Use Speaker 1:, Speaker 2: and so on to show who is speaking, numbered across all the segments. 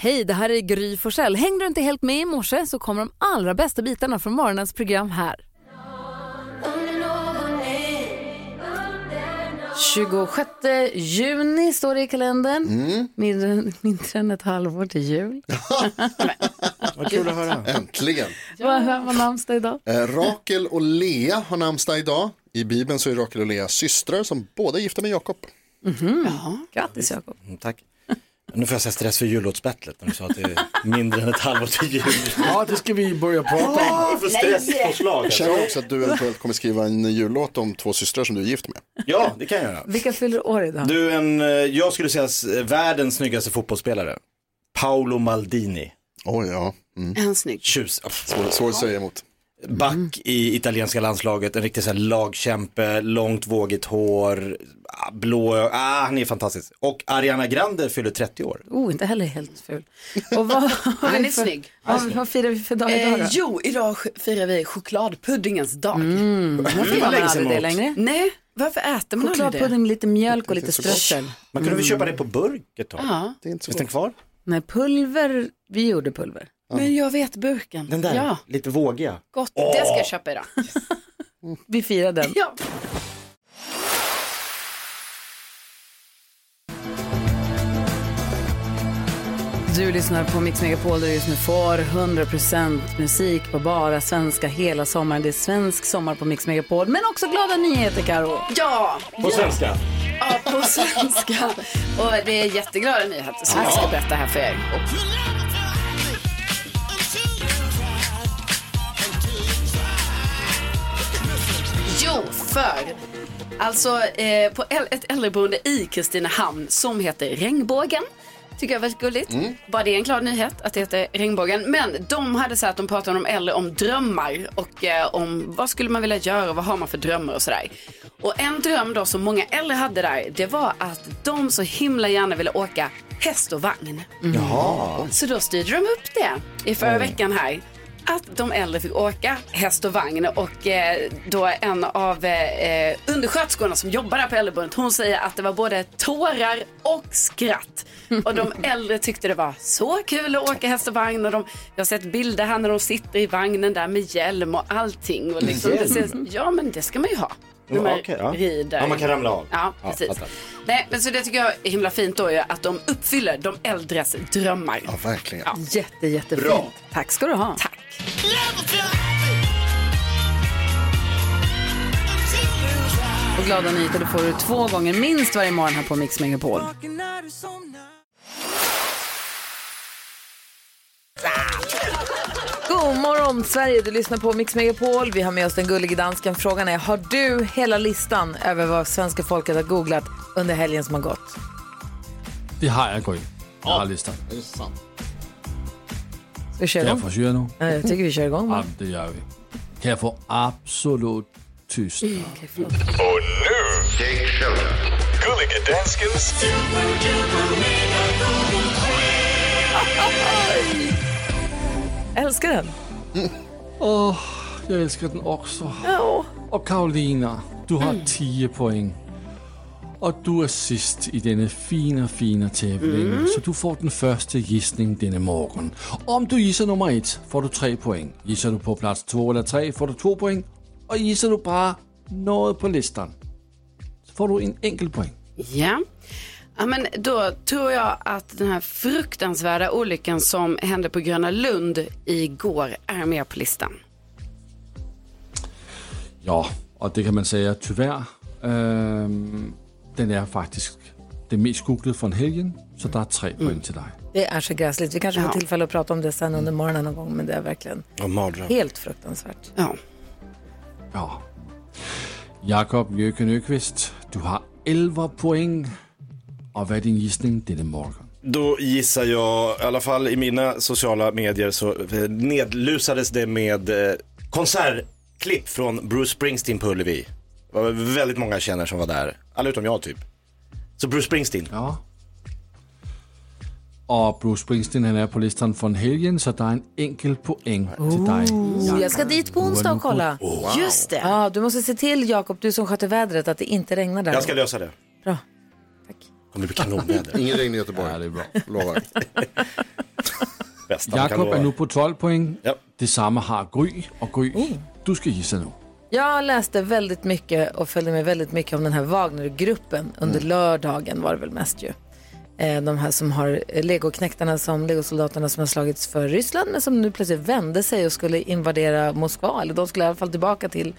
Speaker 1: Hej, det här är Gry Forssell. Hängde du inte helt med i morse så kommer de allra bästa bitarna från morgonens program här. 26 juni står det i kalendern.
Speaker 2: Mm.
Speaker 1: Mindre, mindre än ett halvår till jul.
Speaker 3: Vad kul att höra.
Speaker 4: Äntligen.
Speaker 1: Vad Vad var namnsdag idag?
Speaker 4: Eh, Rakel och Lea har namnsdag idag. I Bibeln så är Rakel och Lea systrar som båda är gifta med Jakob.
Speaker 1: Grattis Jakob.
Speaker 3: Mm, Tack. Nu får jag så här stress för jullåtsbattlet när du sa att det är mindre än ett halvår till jul.
Speaker 5: Ja, det ska vi börja prata om.
Speaker 3: För stresspåslag. alltså?
Speaker 4: Jag känner också att du eventuellt kommer skriva en jullåt om två systrar som du är gift med.
Speaker 3: Ja, det kan jag göra.
Speaker 1: Vilka fyller år idag?
Speaker 3: Du, en, eh, jag skulle säga s- eh, världens snyggaste fotbollsspelare. Paolo Maldini.
Speaker 4: Oj, ja. Mm.
Speaker 2: Är han snygg?
Speaker 3: Tjus.
Speaker 4: Svårt att säga emot.
Speaker 3: Back
Speaker 2: Mm.
Speaker 3: i italienska landslaget, en riktig så här lagkämpe, långt vågigt hår, ah, blå ö- ah, han är fantastisk. Och Ariana Grande fyller 30 år.
Speaker 2: Mm,
Speaker 1: Oh, inte heller helt ful. Och vad, har
Speaker 2: Han
Speaker 1: vi
Speaker 2: är
Speaker 1: för-
Speaker 2: snygg.
Speaker 1: Vad, vad firar vi för dag idag då?
Speaker 2: Eh, jo, idag sk- firar vi chokladpuddingens dag.
Speaker 3: Det
Speaker 1: Varför gör man
Speaker 3: länge sedan
Speaker 1: aldrig det
Speaker 3: åt.
Speaker 1: längre?
Speaker 2: Nej, varför äter man aldrig det?
Speaker 1: Chokladpudding med lite mjölk och lite strössel.
Speaker 3: Man kunde väl köpa det på burk ett tag?
Speaker 2: Mm. Ja,
Speaker 4: Det är inte så
Speaker 3: Finns
Speaker 4: gott.
Speaker 3: den kvar?
Speaker 1: Nej, pulver, vi gjorde pulver.
Speaker 2: men jag vet burken.
Speaker 3: Den där,
Speaker 2: Ja,
Speaker 3: lite vågiga.
Speaker 2: gott. Det ska jag köpa idag.
Speaker 1: Vi firar den.
Speaker 2: Ja.
Speaker 1: Du lyssnar på Mix Megapol där du just nu får 100% musik på bara svenska hela sommaren. Det är svensk sommar på Mix Megapol, men också glada nyheter, Karo.
Speaker 2: Ja,
Speaker 3: På svenska.
Speaker 2: ja, på svenska. Och det är jätteglada nyheter som jag ska berätta här för er. Och- Jo, för alltså eh, på äl- ett äldreboende i Kristinehamn som heter Regnbågen. Tycker jag är väldigt gulligt. Bara det är en glad nyhet att det heter Regnbågen. Men de hade så här att de pratade om äldre om drömmar och eh, om vad skulle man vilja göra och vad har man för drömmar och sådär. Och en dröm då som många äldre hade där det var att de så himla gärna ville åka häst och vagn.
Speaker 3: Ah.
Speaker 2: Så då styrde de upp det i förra veckan här. Att de äldre fick åka häst och vagn och eh, då en av eh, eh, undersköterskorna som jobbar där på äldreboendet hon säger att det var både tårar och skratt. Och de äldre tyckte det var så kul att åka häst och vagn och de, jag har sett bilder här när de sitter i vagnen där med hjälm och allting. Och liksom, det ser, ja men det ska man ju ha. När man
Speaker 3: okej, ja.
Speaker 2: rider.
Speaker 3: Ja, man kan ramla av.
Speaker 2: Ja,
Speaker 3: Ja,
Speaker 2: precis.
Speaker 3: fattar.
Speaker 2: Nej, men så det tycker jag är himla fint då ju, att de uppfyller de äldres drömmar.
Speaker 4: Ja, verkligen.
Speaker 2: Ja.
Speaker 1: Jätte, jättefint.
Speaker 3: Bra.
Speaker 1: Tack ska du ha.
Speaker 2: Tack.
Speaker 1: Och glada nyheter det får du två gånger minst varje morgon här på Mix Megapol.
Speaker 6: God morgon Sverige, du lyssnar på Mix Megapol. Vi har med oss den gullige dansken. Frågan är, har du hela listan över vad svenska folket har googlat under helgen som har gått?
Speaker 7: Det har jeg, Gry. Jag har listan.
Speaker 6: Ska vi köra
Speaker 7: Kan jag
Speaker 6: igång?
Speaker 7: få syre nu?
Speaker 6: Ja, Jag tycker vi kör igång.
Speaker 7: Ja,
Speaker 6: bara.
Speaker 7: det gör vi. Kan jag få absolut tyst?
Speaker 8: Och nu, Gullige Danskens
Speaker 6: Älskar den.
Speaker 7: Åh, jag älskar den också. Och Karolina, du har 10 poäng. Och du är sist i denna fina, fina tävling. Så du får den första gissning denna morgon. Om du gissar nummer ett får du 3 poäng. Gissar du på plats två eller tre får du 2 poäng. Och gissar du bara något på listan så får du en enkel poäng.
Speaker 2: Ja. ja, men då tror jag att den här fruktansvärda olyckan som hände på Gröna Lund igår är med på listan.
Speaker 7: Ja, och det kan man säga tyvärr. Ehm, den är faktiskt det mest googlade från helgen, så där är tre poäng till dig.
Speaker 6: Det är så gräsligt. Vi kanske får tillfälle att prata om det sen under morgonen någon gång, men det är verkligen
Speaker 3: Och mardröm.
Speaker 6: helt fruktansvärt.
Speaker 2: Ja.
Speaker 7: Ja. Jakob Jöken Öqvist, du har 11 poäng. Och vad är din gissning denna morgon?
Speaker 3: Då gissar jag, i alla fall i mina sociala medier så eh, nedlusades det med eh, konsertklipp från Bruce Springsteen på Ullevi. Det var väldigt många känner som var där. Alla utom jag typ. Så Bruce Springsteen.
Speaker 7: Ja. Och Bruce Springsteen han är på listan från helgen, så det är en enkel poäng till dig. Jakob.
Speaker 6: Jag ska dit på onsdag och kolla.
Speaker 2: Just det.
Speaker 6: Ja, du måste se till Jakob, du som sköter vädret, att det inte regnar där.
Speaker 3: Jag ska lösa det.
Speaker 6: Bra.
Speaker 3: Kommer bli kanonväder.
Speaker 4: Ingen regn i Göteborg,
Speaker 7: Ja, det är bra.
Speaker 4: lovar.
Speaker 3: bästa. man kan
Speaker 7: Jakob
Speaker 3: lova.
Speaker 7: er nu på 12 poäng.
Speaker 3: Ja.
Speaker 7: Det samme har Gry. Och Gry, du ska gissa nu.
Speaker 6: Jag läste väldigt mycket och följde med väldigt mycket om den här Wagnergruppen under lördagen var det väl mest ju. Eh, De här som har eh, legoknektarna som legosoldaterna som har slagits för Ryssland men som nu plötsligt vände sig och skulle invadera Moskva. Eller de skulle i alla fall tillbaka till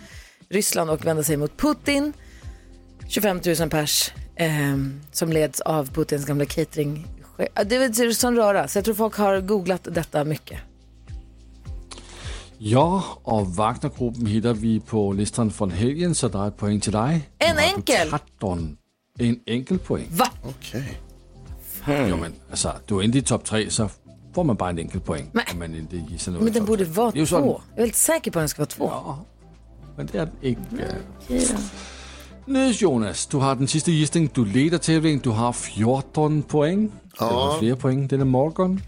Speaker 6: Ryssland och vända sig mot Putin. 25 000 pers eh, som leds av Putins gamla catering. Det är en sån röra, så jag tror folk har googlat detta mycket.
Speaker 7: Ja, och Wagnergruppen hittar vi på listan från helgen, så det är ett poäng till dig.
Speaker 6: En
Speaker 7: Nu har du
Speaker 6: enkel!
Speaker 7: 13. En enkel poäng.
Speaker 6: Va?
Speaker 4: Okej.
Speaker 6: Hmm.
Speaker 7: Jo, men alltså, du är inte i topp tre, så får man bara en enkel poäng.
Speaker 6: Men-
Speaker 7: om man inte gissar något.
Speaker 6: Men den
Speaker 7: top
Speaker 6: borde
Speaker 7: tre.
Speaker 6: vara
Speaker 7: Det är ju sådan.
Speaker 6: två. Jag är väldigt säker på att den ska vara två.
Speaker 7: Ja, men det är den ikke. Nydes Jonas, du har den sidste gissning. Du leder tävlingen. Du har 14 poäng. Ja. Det var flere point denne morgon.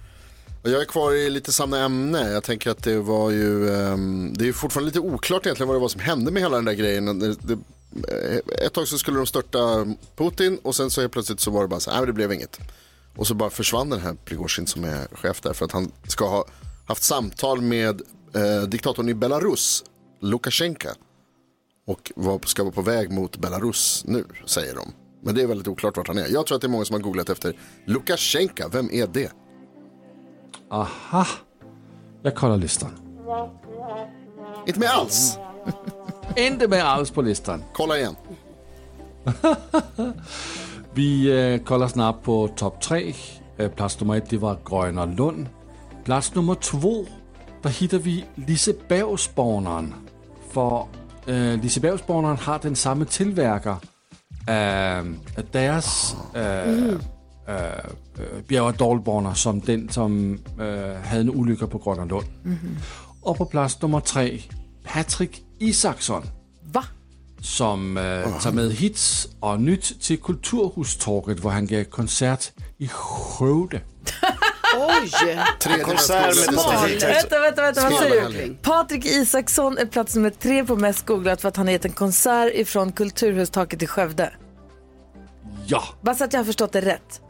Speaker 4: Och Jag är kvar i lite samma ämne. Jag tänker att det var ju, ehm, det är ju fortfarande lite oklart egentligen vad det var som hände med hela den där grejen. Det, det, eh, ett tag så skulle de störta Putin och sen så helt plötsligt så var det bara så här, "Nej, det blev inget. Och så bara försvann den här Prigozjin som är chef där för att han ska ha haft samtal med eh, diktatorn i Belarus, Lukasjenko. Och var, ska vara på väg mot Belarus nu, säger de. Men det är väldigt oklart vart han är. Jag tror att det är många som har googlat efter Lukasjenko, vem är det?
Speaker 7: Aha. Jeg kolder listen.
Speaker 4: Inte med alls.
Speaker 7: Endte med alls på listen.
Speaker 4: Kolla igen.
Speaker 7: Vi øh, kolder snart på top 3. Øh, plads nummer 1, det var Grønner Lund. Plads nummer 2, der hitter vi Lise Bergsborneren. For øh, Lise Bergsborneren har den samme tilværker af af deres øh, øh, Bjerg og Dolborner, som den, som øh, havde en ulykke på Grønner Lund. Og på plads nummer 3, Patrick Isaksson
Speaker 6: Va?
Speaker 7: som øh, tager med hits og nyt til Kulturhustorget, hvor han gav koncert i Skövde.
Speaker 4: Tredje
Speaker 3: Konsert med
Speaker 4: mest googlade
Speaker 3: Smal.
Speaker 4: stil.
Speaker 6: Vänta, vänta, vänta, vad
Speaker 4: Spela
Speaker 6: säger du?
Speaker 4: helgen.
Speaker 6: Patrik Isaksson är plats nummer tre på mest googlat för att han har gett en konsert ifrån Kulturhustaket i Skövde.
Speaker 7: Ja,
Speaker 6: Bara så att jag har förstått det rätt.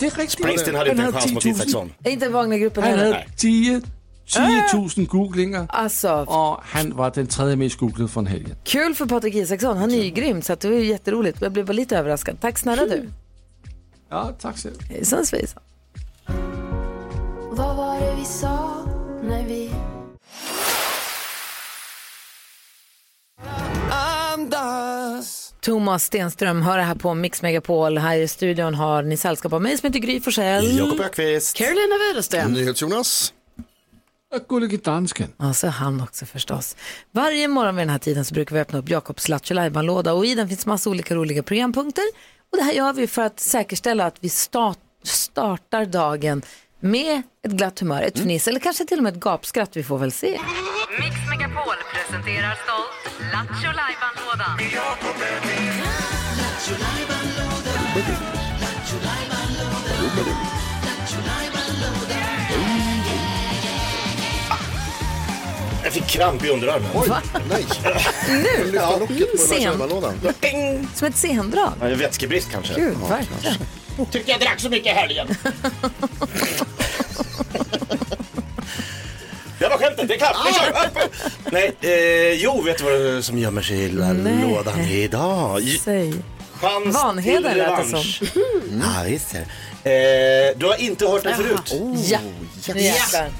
Speaker 7: det er rigtigt.
Speaker 3: Springsteen hade inte en
Speaker 7: Han havde
Speaker 3: chans mot
Speaker 7: 10.000.
Speaker 3: Isaksson.
Speaker 6: Är inte Wagnergruppen
Speaker 7: Han
Speaker 6: heller?
Speaker 7: havde 10 10.000 googlinger,
Speaker 6: Alltså,
Speaker 7: og han var den tredje mest googlede for en helgen.
Speaker 6: kul för Patrik Isaksson. Han är ju grym så att det var ju jätteroligt. Jag blev bara lite överraskad. Tack snälla du.
Speaker 7: Ja, tak selv.
Speaker 6: Hejsan svejsan.
Speaker 9: Vad var det vi sa när vi...
Speaker 6: Thomas Stenström hör det här på Mix Megapol. Här i studion har ni sällskap av mig som heter Gry Forssell.
Speaker 3: Jakob Ökvist.
Speaker 2: Carolina Widerström.
Speaker 4: NyhetsJonas.
Speaker 7: Og gullige dansken.
Speaker 6: Ja, så Alltså, han också förstås. Varje morgon vid den här tiden så brukar vi öppna upp Jakobs Lattjo låda och i den finns massa olika roliga programpunkter. Och det här gör vi för att säkerställa att vi start, startar dagen med ett glatt humör, ett fniss eller kanske till och med ett gapskratt. Vi får väl se.
Speaker 10: Mix Megapol presenterar stolt Lattjo Lajban-lådan.
Speaker 3: Jag fick kramp i underarmen.
Speaker 4: Nej. Nu? Lyfta locket på
Speaker 6: Sen.
Speaker 4: Lattjo-lådan.
Speaker 6: Som ett sendrag.
Speaker 3: Ja, Vätskebrist kanske.
Speaker 6: Gud, verkligen.
Speaker 3: Tyckte jag drack så mycket i helgen. Det var skämtet, det är klart. Vi kör. Upp. Nej, eh, jo, vet du vad som gömmer sig i lilla
Speaker 6: Nej.
Speaker 3: lådan idag? J-
Speaker 6: Säg.
Speaker 3: Chans
Speaker 6: Vanheder
Speaker 3: till
Speaker 6: lät det
Speaker 3: revansch. Mm. Ja, visst är det. eh, Du har inte hört det förut.
Speaker 6: Ja. Jäklar.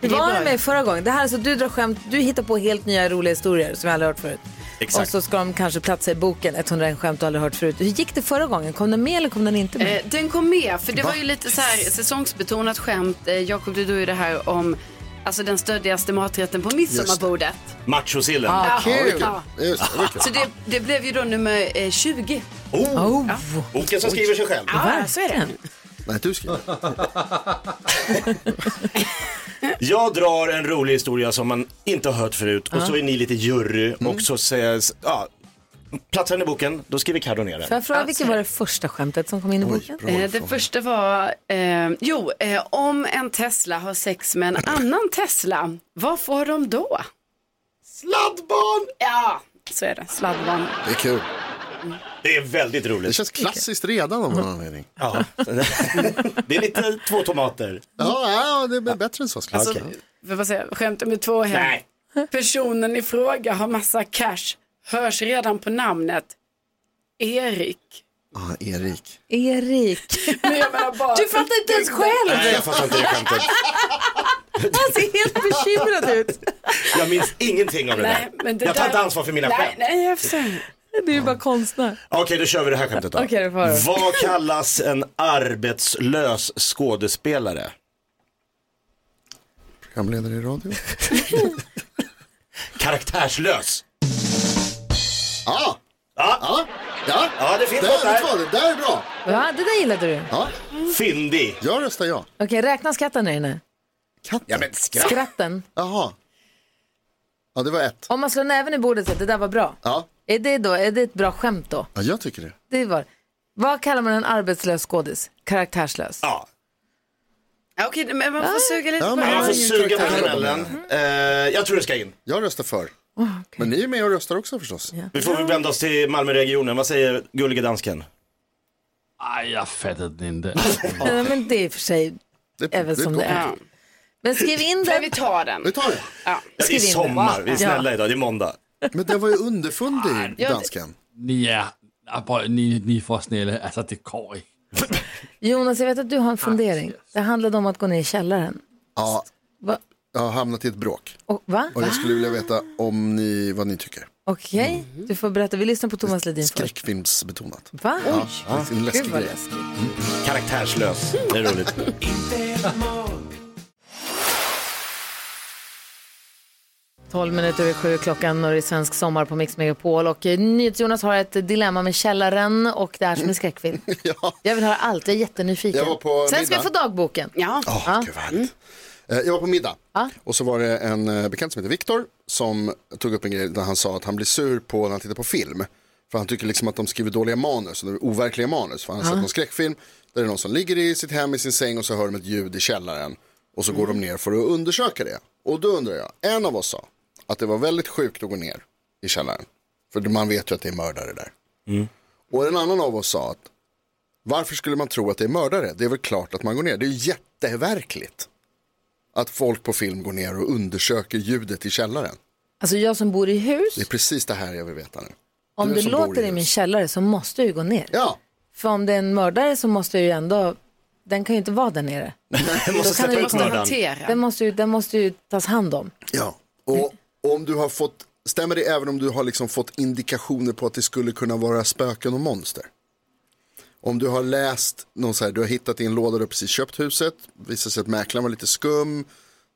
Speaker 6: Det var
Speaker 2: bra.
Speaker 6: du med förra gången. Det här är så du drar skämt, du hittar på helt nya roliga historier som jag aldrig hört förut.
Speaker 3: Exakt.
Speaker 6: Och så ska de kanske platsa i boken 101 skämt du aldrig hört förut. Hur gick det förra gången? Kom den med eller kom den inte med?
Speaker 2: Eh, Den kom med, för det var ju lite så här säsongsbetonat skämt. Eh, Jakob, du drog ju det här om alltså, den stöddigaste maträtten på midsommarbordet.
Speaker 3: Machosillen.
Speaker 2: Ja.
Speaker 4: Kul.
Speaker 2: Ja.
Speaker 4: Just det, det, var kul.
Speaker 2: Så det, det blev ju då nummer eh, 20.
Speaker 3: Oh,
Speaker 6: Oh,
Speaker 3: boken som skriver sig själv.
Speaker 2: Ja, så är det.
Speaker 4: Nej, du skriver.
Speaker 3: Jag drar en rolig historia som man inte har hört förut och så är ni lite jury och så sägs, ja, platsar den i boken, då skriver Carro ner
Speaker 6: Får
Speaker 3: den.
Speaker 6: jag fråga, vilket var det första skämtet som kom in i boken?
Speaker 2: Eh, det första var, eh, jo, eh, om en Tesla har sex med en annan Tesla, vad får de då?
Speaker 3: Sladdbarn!
Speaker 2: Ja, så är det. Sladdbarn.
Speaker 4: Det är kul.
Speaker 3: Det är väldigt roligt.
Speaker 4: Det känns klassiskt redan av någon anledning.
Speaker 3: Ja. det är lite två tomater.
Speaker 4: Ja, ja det är bättre än så. skulle jag
Speaker 2: Alltså,
Speaker 4: säga.
Speaker 2: vad vad säger jag? skämtar med två hem.
Speaker 3: Nej.
Speaker 2: Personen i fråga har massa cash, hörs redan på namnet. Erik.
Speaker 4: Ah, Erik.
Speaker 6: Erik.
Speaker 2: Men jag menar bara,
Speaker 6: Du fattar inte ens själv.
Speaker 3: Nej, jag fattar inte det skämtet.
Speaker 6: Han ser helt bekymrad ut.
Speaker 3: Jag minns ingenting av det
Speaker 2: Nej,
Speaker 3: där.
Speaker 2: men det
Speaker 3: jag tar
Speaker 2: där-
Speaker 3: inte ansvar för mina
Speaker 2: Nej,
Speaker 3: skämt.
Speaker 2: nej, jag förstår.
Speaker 6: Du är ju bara konstnär.
Speaker 3: Okej, då kör vi det här skämtet då.
Speaker 6: Okej, det får vara.
Speaker 3: Vad kallas en arbetslös skådespelare?
Speaker 4: Programledare i radio.
Speaker 3: Karaktärslös.
Speaker 4: Ja,
Speaker 3: Ja,
Speaker 4: ja, ja.
Speaker 3: ja det finns något
Speaker 4: Där, vet du vad,
Speaker 3: där.
Speaker 4: det där är bra.
Speaker 6: Va? Det där gillade du.
Speaker 4: Ja,
Speaker 3: Fyndig.
Speaker 4: jag röstar ja.
Speaker 6: Okej, räkna skatten där inne.
Speaker 4: Katten.
Speaker 3: Ja, men skratt.
Speaker 6: Skratten.
Speaker 4: Jaha. Ja, det var ett.
Speaker 6: Om man slår näven i bordet så att det där var bra.
Speaker 4: Ja,
Speaker 6: Är det, då, är det ett bra skämt då?
Speaker 4: ja jag tycker det.
Speaker 6: Det var, vad kallar man en arbetslös skådis? Karaktärslös.
Speaker 3: Ja,
Speaker 2: Ja, Okej, men man får suga lite
Speaker 4: Ja,
Speaker 2: på
Speaker 4: men
Speaker 2: det.
Speaker 3: jag får
Speaker 4: ju
Speaker 3: suga på
Speaker 4: karaktär.
Speaker 3: karamellen. Eh, jag tror det ska in.
Speaker 4: Jag röstar för. Men ni är med och röstar också förstås.
Speaker 3: Vi får väl vända oss till Malmöregionen. Vad säger gullige dansken?
Speaker 7: Ej, jag fattade den inte.
Speaker 6: Nej, men det är i och för sig
Speaker 4: Det,
Speaker 6: är väl
Speaker 4: det
Speaker 6: som
Speaker 4: går
Speaker 6: det
Speaker 4: bra.
Speaker 6: är. Men skriv in
Speaker 2: Nej,
Speaker 6: den.
Speaker 2: vi tar den.
Speaker 4: Vi tar det.
Speaker 3: Ja, det är
Speaker 6: Skriv in.
Speaker 3: sommar. Vi är snälla
Speaker 6: Ja.
Speaker 3: idag. Det är måndag.
Speaker 4: Men den var ju underfundig,
Speaker 2: Ja, det-
Speaker 4: dansken.
Speaker 7: Ni er, ah, prøv, ni, ni er for snille. Altså, det går ikke.
Speaker 6: Jonas, jag vet att du har en fundering. Det handlade om att gå ner i källaren.
Speaker 4: Ja,
Speaker 6: Va?
Speaker 4: jag har hamnat i ett bråk.
Speaker 6: Och, va?
Speaker 4: Och jag skulle vilja veta om ni, vad ni tycker.
Speaker 6: Okej,
Speaker 4: Mm.
Speaker 6: du får berätta. Vi lyssnar på Thomas Ledin först.
Speaker 4: Skräckfilmsbetonat.
Speaker 6: Va? Oj,
Speaker 4: Det är en
Speaker 6: gud
Speaker 4: läskig
Speaker 6: vad
Speaker 4: grej.
Speaker 6: läskigt.
Speaker 3: Karaktärslös. Det är roligt.
Speaker 6: Tolv minuter över sju klockan och det är svensk sommar på Mix Megapol. Och eh, NyhetsJonas har ett dilemma med källaren och det är som en skräckfilm.
Speaker 4: Ja.
Speaker 6: Jag vill höra allt, jag är jättenyfiken.
Speaker 4: Mm. Jag var på
Speaker 6: Sen ska
Speaker 4: middag.
Speaker 6: jag få dagboken.
Speaker 2: Ja.
Speaker 4: Åh, gud vad härligt. Eh, Jag var på middag och så var det en eh, bekant som heter Viktor som tog upp en grej där han sa att han blir sur på när han tittar på film. För han tycker liksom att de skriver dåliga manus, och det är overkliga manus. För han har sett någon skräckfilm där det är någon som ligger i sitt hem i sin säng och så hör de ett ljud i källaren. Och så går de ner för att undersöka det. Och då undrar jag, en av oss sa att det var väldigt sjukt att gå ner i källaren. För man vet ju att det är mördare där. Och en annan av oss sa att varför skulle man tro att det är mördare? Det är väl klart att man går ner. Det är ju jätteverkligt. Att folk på film går ner och undersöker ljudet i källaren.
Speaker 6: Alltså jag som bor i hus,
Speaker 4: Det är precis det här jag vill veta nu.
Speaker 6: om
Speaker 4: du
Speaker 6: det
Speaker 4: som bor i
Speaker 6: låter i
Speaker 4: hus.
Speaker 6: min källare så måste jag ju gå ner.
Speaker 4: Ja,
Speaker 6: För om det är en mördare så måste jag ju ändå, den kan ju inte vara där nere.
Speaker 3: Jag måste
Speaker 6: kan
Speaker 3: släppa
Speaker 6: du
Speaker 3: ut
Speaker 6: måste
Speaker 3: mördaren.
Speaker 2: Hantera.
Speaker 6: Den måste ju, den måste ju tas hand om.
Speaker 4: ja. Och om du har fått, stämmer det även om du har liksom fått indikationer på att det skulle kunna vara spöken och monster? Om du har läst någon så här, du har hittat i en låda, du har precis köpt huset, visar sig att mäklaren var lite skum,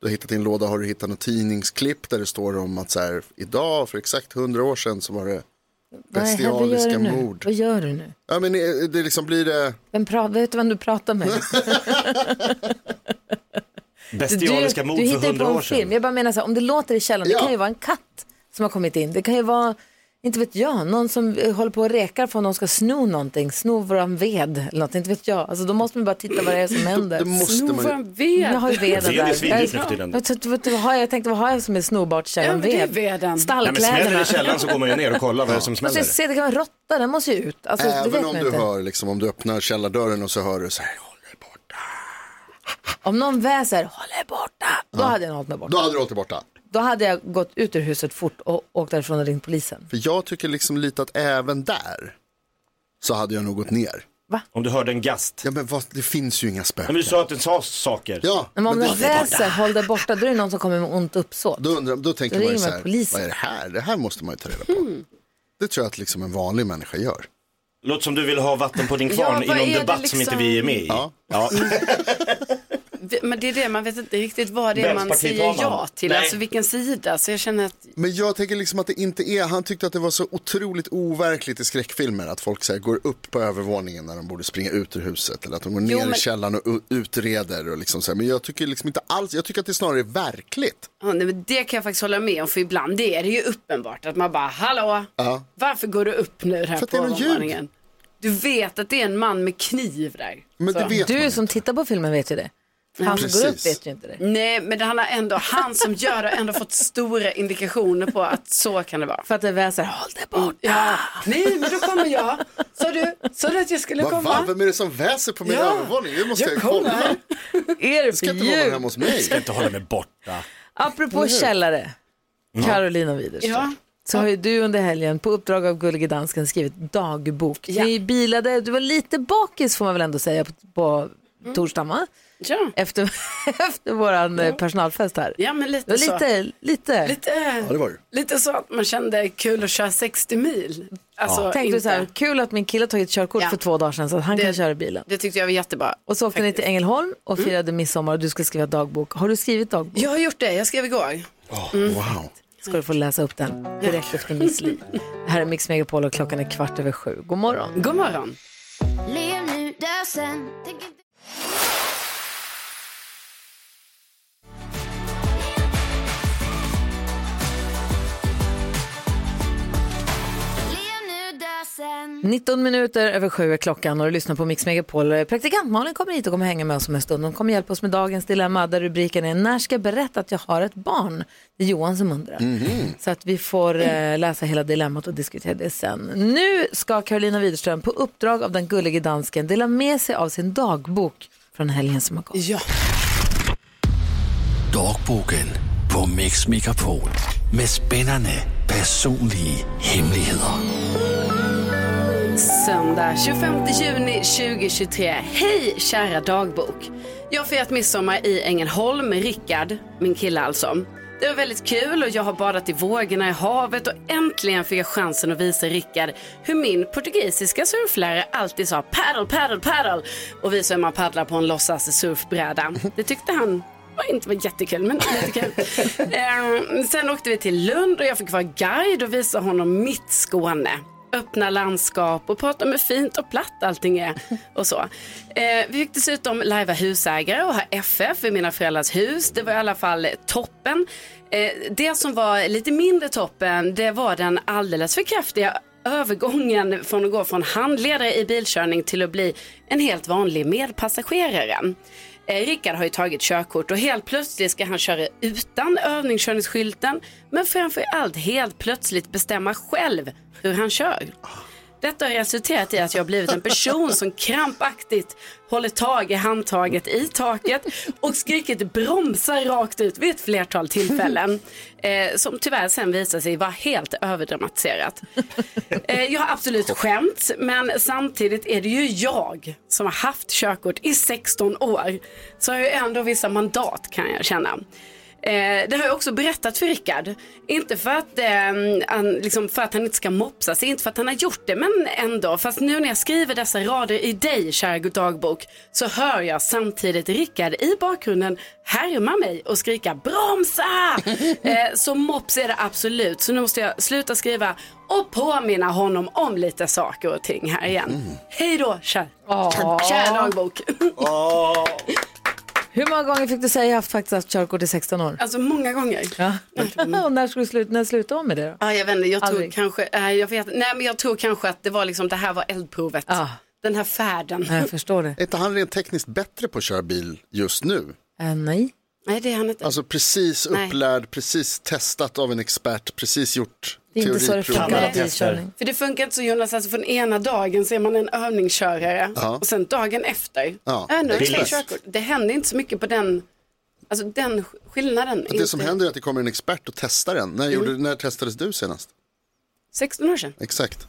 Speaker 4: du har hittat i en låda, har du hittat något tidningsklipp där det står om att så här, idag för exakt hundra år sedan så var det
Speaker 6: Vad är- vad gör du
Speaker 4: bestialiska
Speaker 6: nu? Typ,
Speaker 4: mord.
Speaker 6: Vad gör du nu?
Speaker 4: Ja, men eh, det liksom blir det...
Speaker 6: Vem pra- vet du vem du pratar med?
Speaker 3: Bestialiska mord
Speaker 6: du
Speaker 3: för
Speaker 6: hittar ju på
Speaker 3: hundra
Speaker 6: en
Speaker 3: år
Speaker 6: film.
Speaker 3: sedan.
Speaker 6: Jag bara menar så här, om det låter i källaren,
Speaker 4: Ja.
Speaker 6: det kan ju vara en katt som har kommit in. Det kan ju vara, inte vet jag, någon som eh, håller på och rekar för att någon ska sno någonting, sno våran ved eller något, inte vet jag. Alltså då måste man bara titta vad det är som händer.
Speaker 4: Det måste
Speaker 2: Snor
Speaker 4: man ju...
Speaker 2: från ved.
Speaker 6: Jag har ju veden
Speaker 3: Det är ju
Speaker 6: där.
Speaker 3: svindyrt nu för tiden.
Speaker 6: Jag, tänkte, vad- vad har jag, jag tänkte, vad har jag som är snobart i
Speaker 2: Ja,
Speaker 6: källaren?
Speaker 2: men det är
Speaker 6: Ved.
Speaker 2: veden.
Speaker 3: Nej, men smäller det
Speaker 6: Stallkläderna.
Speaker 3: i källaren så går man ju ner och kollar vad det är som
Speaker 6: Man
Speaker 3: smäller.
Speaker 6: ska se, det kan vara en råtta, den måste ju ut. Alltså, det vet
Speaker 4: Även om
Speaker 6: man
Speaker 4: du
Speaker 6: inte.
Speaker 4: hör, liksom, om du öppnar källardörren och så hör du så här, håll dig borta.
Speaker 6: Om någon väser, håll er borta, då hade jag hållit mig borta.
Speaker 4: Då hade du hållit dig borta.
Speaker 6: Då hade jag gått ut ur huset fort och åkt därifrån och ringt polisen.
Speaker 4: För jag tycker liksom lite att även där så hade jag nog gått ner.
Speaker 3: Om du hörde en gast.
Speaker 4: Ja men vad, det finns ju inga
Speaker 3: Men
Speaker 4: spöken.
Speaker 3: du sa att den sa saker.
Speaker 4: Ja,
Speaker 6: Men om
Speaker 4: men
Speaker 6: den
Speaker 4: det-
Speaker 6: väser, håll dig borta, då är det någon som kommer med ont uppsåt.
Speaker 4: då, undrar, då tänker
Speaker 6: Då
Speaker 4: man ju
Speaker 6: ringer
Speaker 4: så
Speaker 6: man
Speaker 4: här,
Speaker 6: polisen.
Speaker 4: vad
Speaker 6: Hmm.
Speaker 4: är det här? Det här måste man ju ta reda på. Det tror jag att liksom en vanlig människa gör.
Speaker 3: Låt som du vill ha vatten på din
Speaker 2: Ja,
Speaker 3: kvarn
Speaker 2: vad
Speaker 3: i
Speaker 2: är
Speaker 3: någon
Speaker 2: det
Speaker 3: debatt som
Speaker 2: liksom?
Speaker 3: inte vi är med i.
Speaker 4: Ja.
Speaker 3: Ja. Mm.
Speaker 2: Men det är det, man vet inte riktigt vad det är
Speaker 3: Vems
Speaker 2: man
Speaker 3: parti
Speaker 2: säger
Speaker 3: tar man?
Speaker 2: ja till,
Speaker 3: Nej.
Speaker 2: alltså vilken sida. Så jag känner att
Speaker 4: Men jag tänker liksom att det inte är, han tyckte att det var så otroligt overkligt i skräckfilmer att folk så här, går upp på övervåningen när de borde springa ut ur huset eller att de går ner
Speaker 2: men-
Speaker 4: i källaren och u- utreder och liksom så här. Men jag tycker liksom inte alls, jag tycker att det snarare är verkligt.
Speaker 2: Ja, nej, men det kan jag faktiskt hålla med om, för ibland det är det ju uppenbart att man bara, hallå,
Speaker 4: Ja.
Speaker 2: varför går du upp nu här
Speaker 4: För att
Speaker 2: på
Speaker 4: det är något ljud.
Speaker 2: övervåningen? Du vet att det är en man med kniv där.
Speaker 4: Men det vet man Mm.
Speaker 6: Du
Speaker 4: ju.
Speaker 6: som tittar på filmen vet ju det. Han
Speaker 2: Precis.
Speaker 6: som går upp vet ju inte det.
Speaker 2: Nej, men han, har ändå, han som gör det har ändå fått stora indikationer på att så kan det vara. Mm,
Speaker 6: För att det väser, håll det borta.
Speaker 2: Ja. Nej, men då kommer jag. Sa du, sa du att jag skulle
Speaker 4: Vad
Speaker 2: komma?
Speaker 4: fan, vem är det som väser på min
Speaker 2: Ja,
Speaker 4: övervåning? Det måste
Speaker 2: jag
Speaker 4: jag, kolla.
Speaker 2: kommer.
Speaker 4: Det
Speaker 6: Är det
Speaker 4: Mm. ska
Speaker 6: för
Speaker 4: inte vara någon
Speaker 6: djupt?
Speaker 4: hemma hos mig.
Speaker 3: Ska inte hålla mig borta.
Speaker 6: Apropå
Speaker 4: Eller hur?
Speaker 6: källare, Carolina Widerström.
Speaker 2: Ja.
Speaker 6: Så har ju du under helgen på uppdrag av Gullige Dansken skrivit dagbok.
Speaker 2: Ja.
Speaker 6: Ni bilade, du var lite bakis får man väl ändå säga på, på
Speaker 2: Mm.
Speaker 6: torsdagen va?
Speaker 2: Ja.
Speaker 6: Efter, efter våran eh, personalfest här.
Speaker 2: ja, men
Speaker 6: Det var
Speaker 2: lite så.
Speaker 6: lite, lite.
Speaker 2: Lite,
Speaker 4: Ja, det var det.
Speaker 2: lite så att man kände kul att köra 60 mil. Alltså,
Speaker 6: Tänkte
Speaker 2: inte-
Speaker 6: du så här, kul att min kille har tagit körkort
Speaker 2: Ja.
Speaker 6: för två dagar sedan så att han
Speaker 2: Det-
Speaker 6: kan köra bilen.
Speaker 2: Det tyckte jag var jättebra.
Speaker 6: Och så åkte ni till Ängelholm och firade midsommar och du skulle skriva dagbok. Har du skrivit dagbok?
Speaker 2: Jag har gjort det, jag skrev igår.
Speaker 4: Wow.
Speaker 6: Ska du få läsa upp den direkt efter Miss Li. Här är Mix Megapol och klockan är kvart över sju. God morgon.
Speaker 2: God morgon.
Speaker 9: Lev nu, dö sen. Tänk inte- Lev nu, dö sen.
Speaker 6: 19 minuter över sju är klockan och du lyssnar på Mix Megapol. Praktikant Malin kommer hit och kommer hänga med oss om en stund. Hon kommer hjälpa oss med dagens dilemma där rubriken är När ska jag berätta att jag har ett barn? Det är Johan som undrar. Så att vi får eh, läsa hela dilemmat och diskutera det sen. Nu ska Carolina Widerström på uppdrag av den gullige dansken dela med sig av sin dagbok från helgen som har gått.
Speaker 2: Ja.
Speaker 11: Dogbogen på Mix Megapol med spännande personliga hemligheter.
Speaker 2: Söndag 25 juni 2023. Hej kära dagbok. Jag har firat midsommar i Ängelholm med Rickard, min kille alltså. Det var väldigt kul och jag har badat i vågorna i havet och äntligen fick jag chansen att visa Rickard hur min portugisiska surflärare alltid sa paddle, paddle, paddle och visa hur man paddlar på en låtsas surfbräda. Det tyckte han var inte var jättekul, men lite kul. Ehm, sen åkte vi till Lund och jag fick vara guide och visa honom mitt Skåne. Öppna landskap och prata om hur fint och platt allting är. Och så. Ehm, vi fick dessutom lajva husägare och ha FF i mina föräldrars hus. Det var i alla fall toppen. Ehm, det som var lite mindre toppen, det var den alldeles för kraftiga övergången från att gå från handledare i bilkörning till att bli en helt vanlig medpassagerare. Eh, Rickard har ju tagit körkort och helt plötsligt ska han köra utan övningskörningsskylten men framför allt helt plötsligt bestämma själv hur han kör. Detta har resulterat i att jag har blivit en person som krampaktigt håller tag i handtaget i taket och skrikit bromsa rakt ut vid ett flertal tillfällen. Eh, som tyvärr sen visar sig vara helt överdramatiserat. Eh, jag har absolut skämt, men samtidigt är det ju jag som har haft körkort i 16 år. Så har jag ändå vissa mandat kan jag känna. Eh, det har jag också berättat för Rickard. Inte för att, eh, han, liksom för att han inte ska mopsa sig, inte för att han har gjort det, men ändå. Fast nu när jag skriver dessa rader i dig, kära god dagbok, så hör jag samtidigt Rickard i bakgrunden härma mig och skrika bromsa! eh, så mops är det absolut, så nu måste jag sluta skriva och påminna honom om lite saker och ting här igen. Hej då, kär, kära dagbok.
Speaker 6: Hur många gånger fick du säga att jag haft- faktiskt haft körkort i 16 år?
Speaker 2: alltså många gånger.
Speaker 6: och när ska du sluta, när slutar du om med det då?
Speaker 2: Ja, jag vet inte, jag tror
Speaker 6: Aldrig.
Speaker 2: kanske, nej, jag vet, nej men jag tror kanske att det var liksom, det här var eldprovet.
Speaker 6: Ja.
Speaker 2: Den här färden.
Speaker 6: Nej, jag förstår det.
Speaker 4: Är inte han rent tekniskt bättre på att köra bil just nu?
Speaker 6: Eh, nej.
Speaker 2: Nej, det är han inte.
Speaker 4: Alltså precis
Speaker 2: Nej.
Speaker 4: upplärd, precis testat av en expert, precis gjort
Speaker 6: Det är inte så det
Speaker 4: teoriprov.
Speaker 6: funkar med
Speaker 2: tester.
Speaker 6: bilkörning.
Speaker 2: För det funkar inte så Jonas, alltså från ena dagen så är man en övningskörare
Speaker 4: Ja.
Speaker 2: och sen dagen efter,
Speaker 4: Ja,
Speaker 2: ja, nu har jag
Speaker 3: billigt.
Speaker 2: tagit körkort. Det händer inte så mycket på den, alltså den sk- skillnaden.
Speaker 4: Att det som
Speaker 2: Inte-
Speaker 4: händer är att det kommer en expert och testar den. När, gjorde, när testades du senast?
Speaker 2: 16 år sedan.
Speaker 4: Exakt.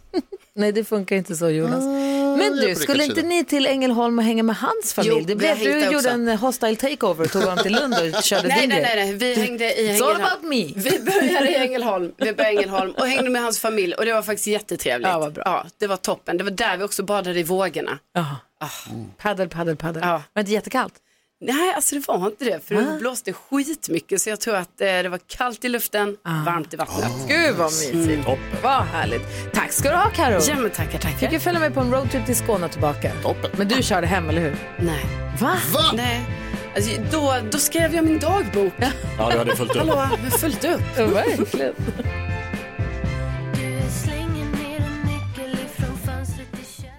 Speaker 6: Nej, det funkar inte så Jonas.
Speaker 2: Ah,
Speaker 6: Men
Speaker 4: jag är
Speaker 6: du,
Speaker 4: på
Speaker 6: skulle
Speaker 4: Rickards
Speaker 6: inte
Speaker 4: sida.
Speaker 6: ni till Ängelholm och hänga med hans familj?
Speaker 2: Jo,
Speaker 6: det
Speaker 2: vi
Speaker 6: blev,
Speaker 2: har
Speaker 6: du
Speaker 2: hittat
Speaker 6: gjorde
Speaker 2: också.
Speaker 6: en hostile takeover och tog honom till Lund och körde
Speaker 2: Nej,
Speaker 6: din
Speaker 2: nej, nej,
Speaker 6: grej.
Speaker 2: nej, vi hängde i
Speaker 6: It's all
Speaker 2: Ängelholm.
Speaker 6: about me.
Speaker 2: Vi började i Ängelholm, vi började i Ängelholm och hängde med hans familj och det var faktiskt jättetrevligt.
Speaker 6: Ja, vad bra.
Speaker 2: Ja, det var toppen. Det var där vi också badade i vågorna.
Speaker 6: Ja. Paddel, paddel, paddel.
Speaker 2: Ah. Ja.
Speaker 6: Var det inte jättekallt?
Speaker 2: Nej, alltså det var inte det. För
Speaker 6: Ah.
Speaker 2: det blåste skitmycket så jag tror att eh, det var kallt i luften,
Speaker 6: Ah.
Speaker 2: varmt i vattnet.
Speaker 3: Ah.
Speaker 6: Gud vad mysigt.
Speaker 2: Mm.
Speaker 6: Vad härligt. Tack ska du ha Karo.
Speaker 2: Ja, men tackar, tackar.
Speaker 6: Fick ju följa med på en roadtrip till Skåne och tillbaka.
Speaker 4: Toppen.
Speaker 6: Men du körde hem, eller hur?
Speaker 2: Nej.
Speaker 6: Va?
Speaker 3: Ah.
Speaker 4: Va?
Speaker 2: Nej. Alltså, då, då skrev jag min dagbok.
Speaker 3: Ja, du hade fullt upp.
Speaker 2: Hallå, jag har följt upp.
Speaker 6: Ja, Verkligen.
Speaker 9: Du slänger ner en nyckel ifrån fönstret i köket.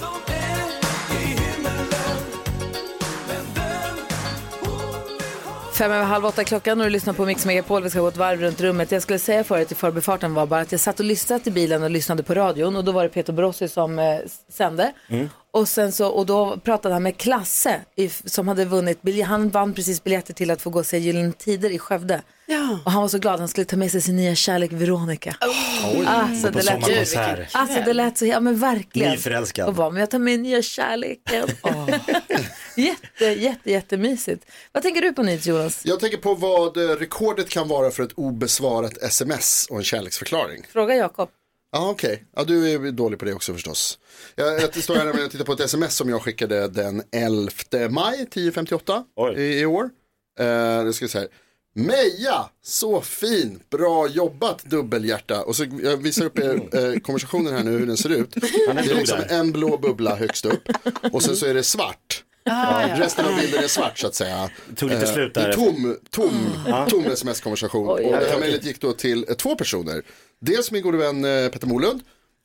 Speaker 8: De är i
Speaker 6: Fem över halv åtta klockan och du lyssnar på Mix Megapol. Vi ska gå ett varv runt rummet. Jag skulle säga förut i förbifarten var bara att jag satt och lyssnade till bilen och lyssnade på radion och då var det Peter Borossi som eh, sände. Och, sen så, och då pratade han med Klasse i, som hade vunnit, bilj- han vann precis biljetter till att få gå och se Gyllene Tider i Skövde. Och han var så glad, han skulle ta med sig sin nya kärlek Veronica.
Speaker 3: Oj,
Speaker 6: alltså,
Speaker 3: gå på
Speaker 6: det lät,
Speaker 3: sommarkonsert.
Speaker 6: alltså det lät så, ja men verkligen.
Speaker 3: Nyförälskad.
Speaker 6: Och bara, men jag tar med nya kärleken. jätte, jätte, jättemysigt. Vad tänker du på nytt Jonas?
Speaker 4: Jag tänker på vad eh, rekordet kan vara för ett obesvarat sms och en kärleksförklaring.
Speaker 6: Fråga Jakob.
Speaker 4: Ja, okej. Ja, du är dålig på det också förstås. Jag, jag står här nämligen och tittar på ett sms som jag skickade den 11 maj 10.58 i, i år. Eh, det ska säga här. Meja, så fin, bra jobbat dubbelhjärta. Och så jag visar upp er eh, konversationen här nu hur den ser ut.
Speaker 3: Han är
Speaker 4: Det är
Speaker 3: dum
Speaker 4: liksom
Speaker 3: där.
Speaker 4: en blå bubbla högst upp och sen så är det svart.
Speaker 3: Ah, ja.
Speaker 4: Resten av bilden är svart så att säga.
Speaker 3: Tog lite
Speaker 4: Eh,
Speaker 3: slut
Speaker 4: det är
Speaker 3: där.
Speaker 4: Tom, tom,
Speaker 3: Ja.
Speaker 4: tom sms-konversation.
Speaker 3: Oj,
Speaker 4: och det
Speaker 3: oj,
Speaker 4: här
Speaker 3: oj.
Speaker 4: mejlet gick då till eh, två personer. Dels min gode vän eh, Petter Molund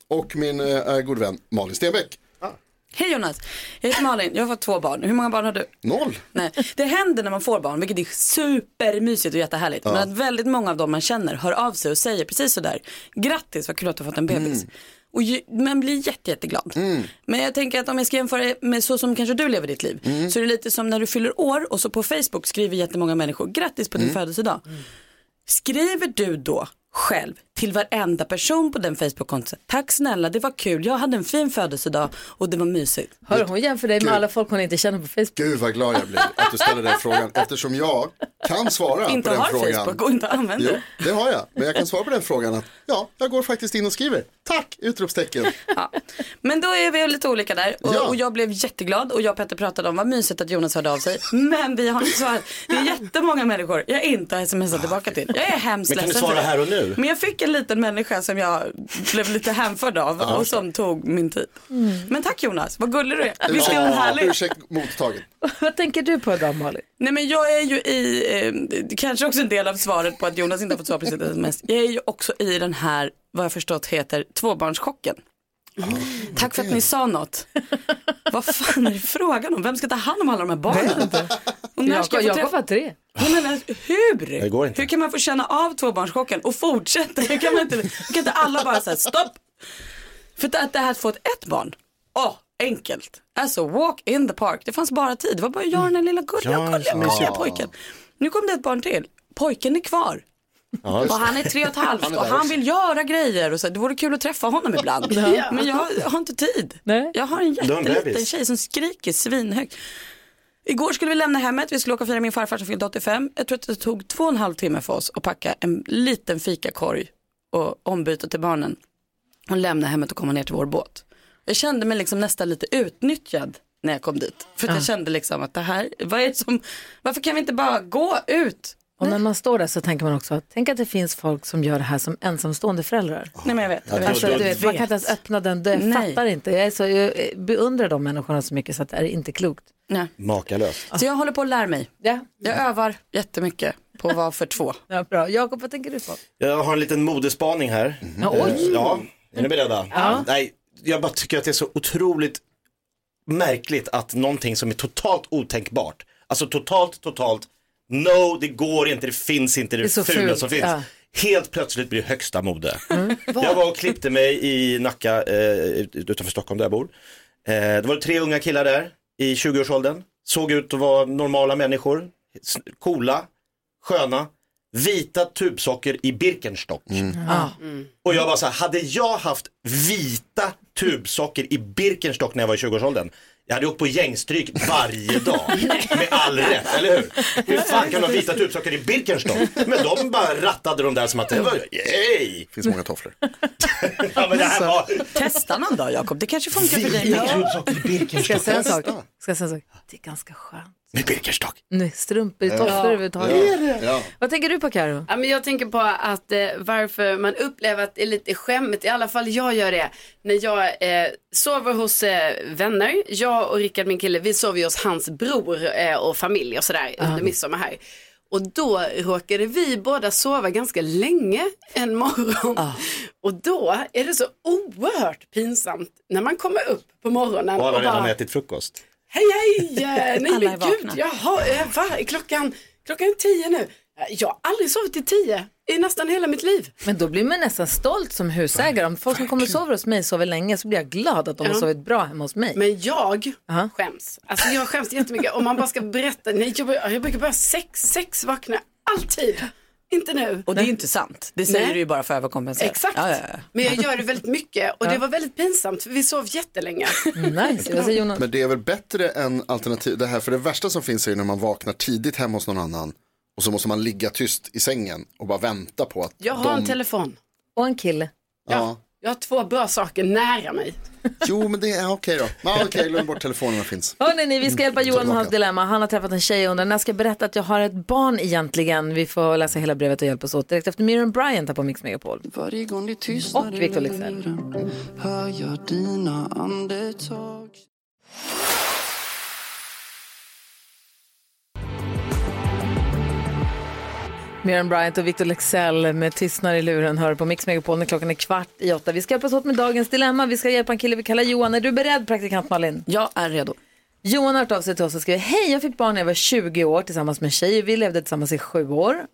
Speaker 4: och min eh, gode vän Malin Stenbeck.
Speaker 12: Hej Jonas, jag heter Malin, jag har fått två barn. Hur många barn har du?
Speaker 4: Noll.
Speaker 12: Nej. Det händer när man får barn, vilket är supermysigt och jättehärligt.
Speaker 4: Ja.
Speaker 12: Men att väldigt många av dem man känner hör av sig och säger precis sådär, grattis vad kul att du har fått en bebis.
Speaker 4: Mm.
Speaker 12: Och ju, man blir jätte, jätteglad. Men jag tänker att om jag ska jämföra med så som kanske du lever ditt liv,
Speaker 4: Mm.
Speaker 12: så är det lite som när du fyller år och så på Facebook skriver jättemånga människor, grattis
Speaker 4: Mm.
Speaker 12: på din födelsedag. Skriver du då själv till varenda person på den Facebook-kontot, tack snälla, det var kul, jag hade en fin födelsedag och det var mysigt.
Speaker 6: Hör hon jämför dig med alla folk hon inte känner på Facebook.
Speaker 4: Gud vad glad jag blir att du ställer den frågan eftersom jag kan svara
Speaker 12: Inte
Speaker 4: på den
Speaker 12: har
Speaker 4: frågan.
Speaker 12: Facebook och inte använder
Speaker 4: Jo, det har jag. Men jag kan svara på den frågan att ja, jag går faktiskt in och skriver. Tack! Utropstecken.
Speaker 12: Men då är vi lite olika där och, och jag blev jätteglad och jag och Petter pratade om vad mysigt att Jonas hörde av sig. Men vi har inte svarat. Det är jättemånga människor jag inte har smsat tillbaka till. Jag är hemskt
Speaker 3: Men kan
Speaker 12: ledsen
Speaker 3: du
Speaker 12: för
Speaker 3: svara
Speaker 12: det.
Speaker 3: här och nu?
Speaker 12: Men jag fick en liten människa som jag blev lite hänförd av
Speaker 3: Ja.
Speaker 12: och som tog min tid. Men tack Jonas, vad gullig du är. Visst är hon
Speaker 4: Ursäkt,
Speaker 12: härlig?
Speaker 4: ursäkt mottaget.
Speaker 6: Vad tänker du på idag Malin?
Speaker 12: Nej men jag är ju i, eh, kanske också en del av svaret på att Jonas inte har fått svar på sitt sms. Jag är ju också i den här, vad jag förstått heter, tvåbarnschocken. Tack för att ni sa något. vad fan är det frågan om? Vem ska ta hand om alla de här barnen? Och när ska jag få träffa?
Speaker 6: tre.
Speaker 12: Jag menar, hur?
Speaker 3: Det går inte.
Speaker 12: Hur kan man få känna av tvåbarnschocken och fortsätta? Hur kan, man inte, hur kan inte alla bara säga stopp? För att det här att få ett, ett barn, åh, enkelt. Alltså walk in the park, det fanns bara tid. Det var bara jag och den här lilla gulliga,
Speaker 3: Ja,
Speaker 12: gulliga,
Speaker 3: så
Speaker 12: gulliga
Speaker 3: mysigt.
Speaker 12: pojken. Nu kom det ett barn till, pojken är kvar.
Speaker 3: Ja, just
Speaker 12: och
Speaker 3: det.
Speaker 12: han är tre och ett
Speaker 3: Han
Speaker 12: halvt
Speaker 3: är
Speaker 12: och
Speaker 3: där
Speaker 12: han
Speaker 3: också.
Speaker 12: vill göra grejer och så. Det vore kul att träffa honom ibland.
Speaker 3: Ja.
Speaker 12: Men jag har inte tid. Jag har en
Speaker 3: Du har en
Speaker 12: jätteliten
Speaker 3: bebis.
Speaker 12: tjej som skriker svinhögt. Igår skulle vi lämna hemmet, vi skulle åka och fira min farfar som fyllde 85. Jag tror att det tog två och en halv timme för oss att packa en liten fikakorg och ombyte till barnen. Och lämna hemmet och komma ner till vår båt. Jag kände mig liksom nästan lite utnyttjad när jag kom dit. För att jag kände liksom att det här, vad är det som, varför kan vi inte bara gå ut?
Speaker 6: Och när man står där så tänker man också, tänk att det finns folk som gör det här som ensamstående föräldrar.
Speaker 12: Nej men jag vet. Jag vet.
Speaker 6: Alltså, du vet, man kan inte ens öppna den, jag
Speaker 12: Nej.
Speaker 6: fattar inte. Jag, är så, jag beundrar de människorna så mycket så att det är inte klokt.
Speaker 12: Nej.
Speaker 3: Makalöst.
Speaker 12: Så jag håller på att lära mig.
Speaker 6: Ja.
Speaker 12: Jag övar jättemycket på att vara för två.
Speaker 6: Ja, bra. Jakob, vad tänker du på?
Speaker 3: Jag har en liten modespaning här.
Speaker 6: Ja, oj.
Speaker 3: Eh, Ja, Mm. är ni beredda?
Speaker 6: Ja.
Speaker 3: Nej, jag bara tycker att det är så otroligt märkligt att någonting som är totalt otänkbart, alltså totalt, totalt, no, det går inte, det finns inte, det,
Speaker 13: Det är så
Speaker 3: fula
Speaker 13: fult,
Speaker 3: som finns.
Speaker 13: ja. Mm.
Speaker 3: Helt plötsligt blir högsta mode. Jag var och klippte mig i Nacka eh, ut- utanför Stockholm där jag bor. Eh, det var tre unga killar där i 20-årsåldern. Såg ut att vara normala människor. S- Coola, sköna, vita tubsocker i Birkenstock.
Speaker 6: Ja.
Speaker 3: Och jag bara så här, hade jag haft vita tubsocker i Birkenstock när jag var i 20-årsåldern, jag hade åkt på gängstryk varje dag. Med all rätt, eller hur? Hur fan kan de ha vita tubsocker i Birkenstock? Men de bara rattade de där som att det var, yay!
Speaker 4: Finns många tofflor.
Speaker 3: ja, men det här var...
Speaker 12: Testa någon dag Jakob, det kanske funkar för dig.
Speaker 3: Vita tubsocker i Birkenstock.
Speaker 6: Ska jag säga en sak? Ska jag säga en sak? Det är ganska skönt.
Speaker 3: Med Birkenstock.
Speaker 6: Nej, strumpor i
Speaker 1: Ja.
Speaker 6: tofflor
Speaker 1: Ja.
Speaker 6: överhuvudtaget.
Speaker 1: Det är det. Ja.
Speaker 6: Vad tänker du på Karo?
Speaker 2: Ja, men jag tänker på att eh, varför man upplever att det är lite skämmigt, i alla fall jag gör det, när jag eh, sover hos eh, vänner, jag och Rickard min kille, vi sover ju hos hans bror eh, och familj och sådär under midsommar här. Och då råkade vi båda sova ganska länge en morgon. Och då är det så oerhört pinsamt när man kommer upp på morgonen
Speaker 3: Och alla
Speaker 2: och
Speaker 3: redan
Speaker 2: bara,
Speaker 3: ätit frukost.
Speaker 2: hej hej, eh, nej
Speaker 12: Alla är
Speaker 2: men
Speaker 12: vakna.
Speaker 2: gud, jaha, eh, va, klockan, klockan är tio nu. Eh, Jag har aldrig sovit till tio i nästan hela mitt liv.
Speaker 6: Men då blir man nästan stolt som husägare. Om folk som kommer och sover hos mig sover länge så blir jag glad att de har
Speaker 2: Ja.
Speaker 6: sovit bra hemma hos mig.
Speaker 2: Men jag skäms. Alltså jag skäms jättemycket. Om man bara ska berätta, nej jag, bör- jag brukar börja sex, sex vaknar jag alltid. Inte nu.
Speaker 12: Och det är ju inte sant. Det säger
Speaker 2: Nej.
Speaker 12: du ju bara för att överkompensera.
Speaker 2: Exakt.
Speaker 12: Ja, ja, ja.
Speaker 2: Men jag gör det väldigt mycket och
Speaker 12: Ja.
Speaker 2: det var väldigt pinsamt för vi sov jättelänge.
Speaker 6: Nice. Vad säger Jonas?
Speaker 4: Men det är väl bättre än alternativ, det här, för det värsta som finns är ju när man vaknar tidigt hemma hos någon annan och så måste man ligga tyst i sängen och bara vänta på att
Speaker 2: Jag har
Speaker 4: de...
Speaker 2: en telefon.
Speaker 6: Och en kille.
Speaker 4: Ja.
Speaker 2: Jag har två bra saker nära mig.
Speaker 4: Jo, men det är ja, okej då. Ja, okej, glöm bort telefonerna finns.
Speaker 6: Hörrni, ni, vi ska hjälpa
Speaker 4: Mm,
Speaker 6: Johan med
Speaker 4: tillbaka.
Speaker 6: hans dilemma. Han har träffat en tjej och undrar när ska jag berätta att jag har ett barn egentligen? Vi får läsa hela brevet och hjälpas åt direkt efter Miriam Bryant här på Mix Megapol.
Speaker 13: Varje gång det tystnar
Speaker 6: Och Victor Leksell.
Speaker 13: hör jag dina andetag
Speaker 6: Miriam Bryant och Victor Lexell med Tystnar i luren hör på Mix Megapol när klockan är kvart i åtta. Vi ska hjälpas åt med dagens dilemma. Vi ska hjälpa en kille vi kallar Johan. Är du beredd praktikant Malin?
Speaker 12: Jag är redo.
Speaker 6: Johan har hört av sig till oss och skriver Hej, jag fick barn när jag var 20 år tillsammans med en tjej. Vi levde tillsammans i sju år.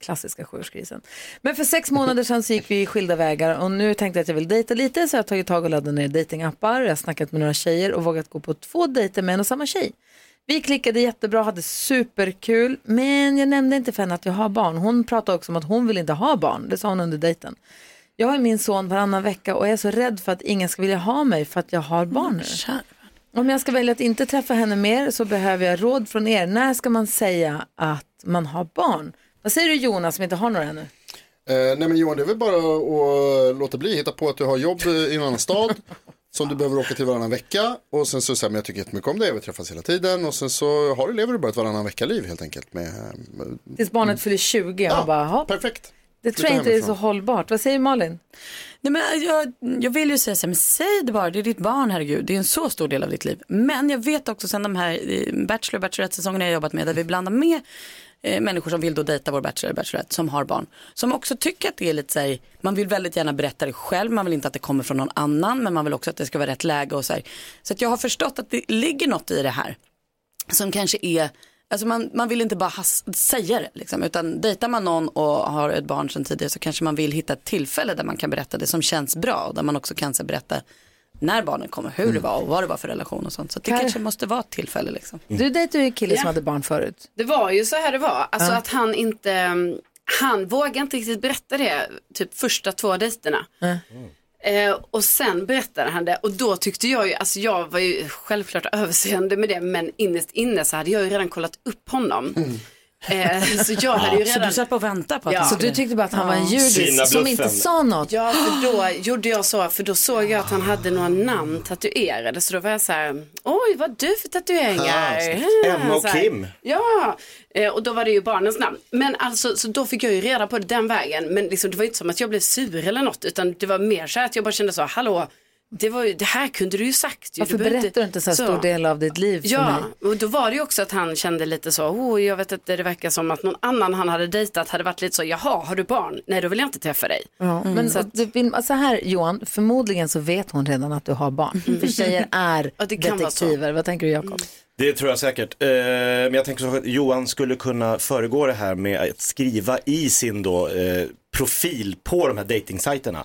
Speaker 6: Klassiska sjuårskrisen. Men för sex månader sedan så gick vi skilda vägar och nu tänkte jag att jag vill dejta lite så jag har tagit tag och laddat ner dejtingappar. Jag har snackat med några tjejer och vågat gå på två dejter med en och samma tjej. Vi klickade jättebra, hade superkul, men jag nämnde inte för henne att jag har barn. Hon pratade också om att hon vill inte ha barn, det sa hon under dejten. Jag har min son varannan vecka och jag är så rädd för att ingen ska vilja ha mig för att jag har barn nu. Om jag ska välja att inte träffa henne mer så behöver jag råd från er. När ska man säga att man har barn? Vad säger du Jonas som inte har några ännu?
Speaker 4: Eh, nej men Johan, det är väl bara att låta bli. Hitta på att du har jobb eh, i en annan stad som du behöver åka till varannan vecka. Och sen så säger men jag tycker jättemycket om dig, vi träffas hela tiden. Och sen så har du, lever du bara ett varannan vecka-liv helt enkelt. Med, eh,
Speaker 6: Tills
Speaker 2: Mm.
Speaker 6: barnet fyller 20 och man bara, "Jaha."
Speaker 4: Perfekt.
Speaker 6: Det tror jag
Speaker 4: Flytta
Speaker 6: inte är så
Speaker 4: hemifrån.
Speaker 6: hållbart. Vad säger Malin?
Speaker 2: Mm.
Speaker 12: Nej, men jag, jag vill ju säga så här, men säg det bara, det är ditt barn, herregud. Det är en så stor del av ditt liv. Men jag vet också sen de här eh, Bachelor och Bachelorette-säsongerna jag jobbat med, där vi blandar med eh, människor som vill då dejta vår Bachelor och Bachelorette, som har barn. Som också tycker att det är lite så här, man vill väldigt gärna berätta det själv, man vill inte att det kommer från någon annan, men man vill också att det ska vara rätt läge och så här. Så att jag har förstått att det ligger något i det här som kanske är Alltså man, man vill inte bara has- säga det, liksom, utan dejtar man någon och har ett barn sedan tidigare så kanske man vill hitta ett tillfälle där man kan berätta det som känns bra och där man också kan så, här, berätta när barnen kommer, hur
Speaker 2: Mm.
Speaker 12: det var och vad det var för relation och sånt. Så att det
Speaker 6: Kar-
Speaker 12: kanske måste vara ett tillfälle. Liksom.
Speaker 6: Du dejtade ju en kille som
Speaker 2: Ja.
Speaker 6: hade barn förut.
Speaker 2: Det var ju så här det var. Alltså
Speaker 6: Ja.
Speaker 2: att han inte, han vågade inte riktigt berätta det typ första två dejterna. Eh, och sen berättade han det och då tyckte jag ju, alltså jag var ju självklart överseende med det men innerst inne så hade jag ju redan kollat upp honom. Eh, så jag hade ju
Speaker 12: Mm. Ja.
Speaker 2: redan...
Speaker 12: Så du satt på och väntade på att
Speaker 2: Ja.
Speaker 12: han
Speaker 2: Så
Speaker 12: skulle-
Speaker 2: du tyckte
Speaker 6: bara att han var en djurgris Syna som inte bluffen. sa något?
Speaker 2: Ja, för då gjorde jag så, för då såg jag att han hade några namn tatuerade så då var jag så här, oj vad du för tatueringar.
Speaker 3: Ah, snyggt.
Speaker 2: Ah,
Speaker 3: Emma och
Speaker 2: så här.
Speaker 3: Kim.
Speaker 2: Ja, eh, och då var det ju barnens namn. Men alltså, så då fick jag ju reda på det den vägen. Men liksom, det var ju inte som att jag blev sur eller något, utan det var mer så här att jag bara kände så, hallå, det, var ju, det här kunde du ju sagt. Ju.
Speaker 6: Varför
Speaker 2: behöver
Speaker 6: berättar du inte så här stor del av ditt liv för
Speaker 2: Ja,
Speaker 6: mig?
Speaker 2: och då var det ju också att han kände lite så, oh, jag vet inte, det verkar som att någon annan han hade dejtat hade varit lite så, jaha, har du barn? Nej, då vill jag inte träffa dig.
Speaker 6: Ja,
Speaker 2: Mm.
Speaker 6: Men
Speaker 2: Så
Speaker 6: så,
Speaker 2: att-
Speaker 6: du vill, så här Johan, förmodligen så vet hon redan att du har barn. För tjejer är
Speaker 2: Mm. det kan vara så.
Speaker 6: detektiver. Vad tänker du Jakob?
Speaker 3: Det tror jag säkert. Eh, men jag tänker så att Johan skulle kunna föregå det här med att skriva i sin då, eh, profil på de här dejtingsajterna.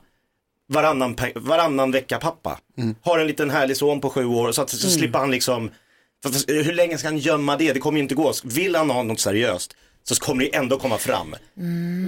Speaker 3: Varannan, pe- varannan vecka pappa. Har en liten härlig son på sju år så att så slipper han liksom, för, för, hur länge ska han gömma det? Det kommer ju inte gå. Vill han ha något seriöst så kommer det ändå komma fram.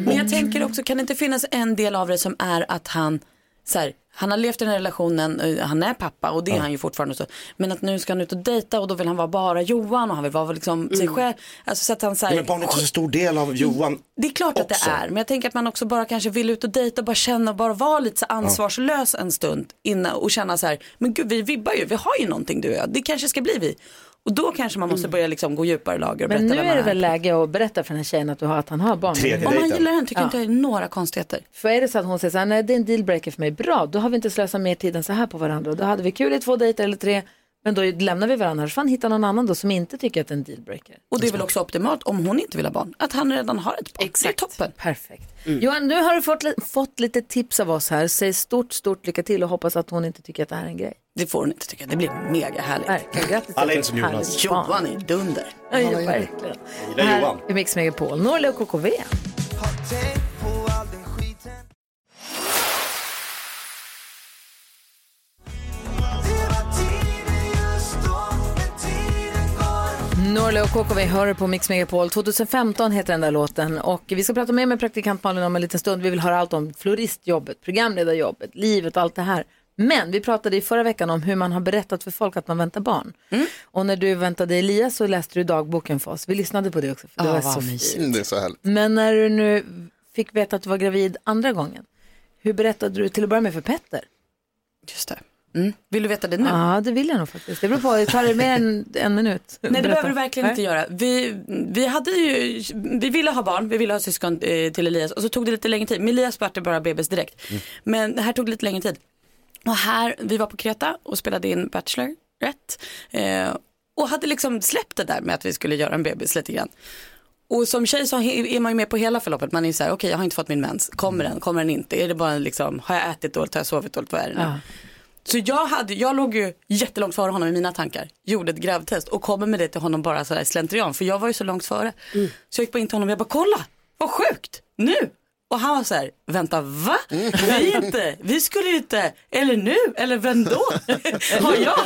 Speaker 12: Men jag tänker också, kan det inte finnas en del av det som är att han, så här, han har levt i den här relationen, eh, han är pappa och det är han ju fortfarande. och Så. Men att nu ska han ut och dejta och då vill han vara bara Johan och han vill vara liksom sig
Speaker 2: Mm.
Speaker 12: själv. Alltså så att han så här,
Speaker 3: Men barnet är så stor del av Johan.
Speaker 12: det är klart att
Speaker 3: också.
Speaker 12: det är, men jag tänker att man också bara kanske vill ut och dejta och bara känna och bara vara lite så ansvarslös en stund innan och känna så här, men gud vi vibbar ju, vi har ju någonting du och jag, det kanske ska bli vi. Och då kanske man måste börja liksom gå djupare lager och
Speaker 6: Mm. Men nu
Speaker 12: berätta vem
Speaker 6: är
Speaker 12: man
Speaker 6: det väl läge att berätta för den här tjejen att, du har, att han har barn.
Speaker 12: Tredje Om han dejten. gillar den tycker inte jag
Speaker 6: är
Speaker 12: några konstigheter.
Speaker 6: För är det så att hon säger så här, nej det är en dealbreaker för mig, bra, då har vi inte slösat mer tid än så här på varandra. Då hade vi kul i två dejter eller tre, Men då lämnar vi varandra, annars får han hitta någon annan då som inte tycker att det är en dealbreaker.
Speaker 12: Och det är väl också optimalt om hon inte vill ha barn. Att han redan har ett barn. Exakt. Det är toppen.
Speaker 6: Perfekt.
Speaker 3: Mm.
Speaker 6: Johan, nu har du fått, li- fått lite tips av oss här. Säg stort, stort lycka till och hoppas att hon inte tycker att det här är en grej.
Speaker 12: Det får hon inte tycka. Det blir mega härligt.
Speaker 6: Verkligen. Grattis
Speaker 3: Alla in som Jonas.
Speaker 12: Johan är dunder.
Speaker 6: Ja, ja, verkligen.
Speaker 3: Gillar
Speaker 6: Här
Speaker 3: Johan.
Speaker 6: är Mix Megapol, Norli och KKV. Norli och KKV hör på Mix Megapol. 2015 heter den där låten och vi ska prata mer med praktikant Malin om en liten stund. Vi vill höra allt om floristjobbet, programledarjobbet, livet och allt det här. Men vi pratade i förra veckan om hur man har berättat för folk att man väntar barn.
Speaker 12: Mm.
Speaker 6: Och när du väntade Elias så läste du dagboken för oss. Vi lyssnade på det också. För det
Speaker 4: Ja,
Speaker 6: var
Speaker 4: vad
Speaker 6: så
Speaker 4: mysigt.
Speaker 6: fint.
Speaker 4: Det är så härligt.
Speaker 6: Men när du nu fick veta att du var gravid andra gången, hur berättade du till att börja med för Petter?
Speaker 12: Just det. Mm. Vill du veta det nu?
Speaker 6: Ja, det vill jag nog faktiskt. Det beror på, det tar det mer än en minut.
Speaker 12: Nej, det
Speaker 6: Berätta.
Speaker 12: behöver du verkligen
Speaker 6: Nej.
Speaker 12: inte göra. Vi, vi, hade ju, vi ville ha barn, vi ville ha syskon eh, till Elias och så tog det lite längre tid. Med Elias vart det bara bebis direkt.
Speaker 6: Mm.
Speaker 12: Men det här tog lite längre tid. Och här, vi var på Kreta och spelade in Bachelor, rätt? Eh, och hade liksom släppt det där med att vi skulle göra en bebis lite grann. Och som tjej så he- är man ju med på hela förloppet. Man är ju så här, okej jag har inte fått min mens, kommer den, kommer den inte? Är det bara liksom, har jag ätit dåligt, har jag sovit dåligt, vad är det nu?
Speaker 6: Ja.
Speaker 12: Så jag, hade, jag låg ju jättelångt före honom i mina tankar, gjorde ett gravtest och kommer med det till honom bara sådär slentrian för jag var ju så långt före. Så jag gick bara in till honom och jag bara kolla, vad sjukt, nu! Och han var så här, vänta va? Vi inte, vi skulle ju inte, eller nu, eller vem då? Har jag?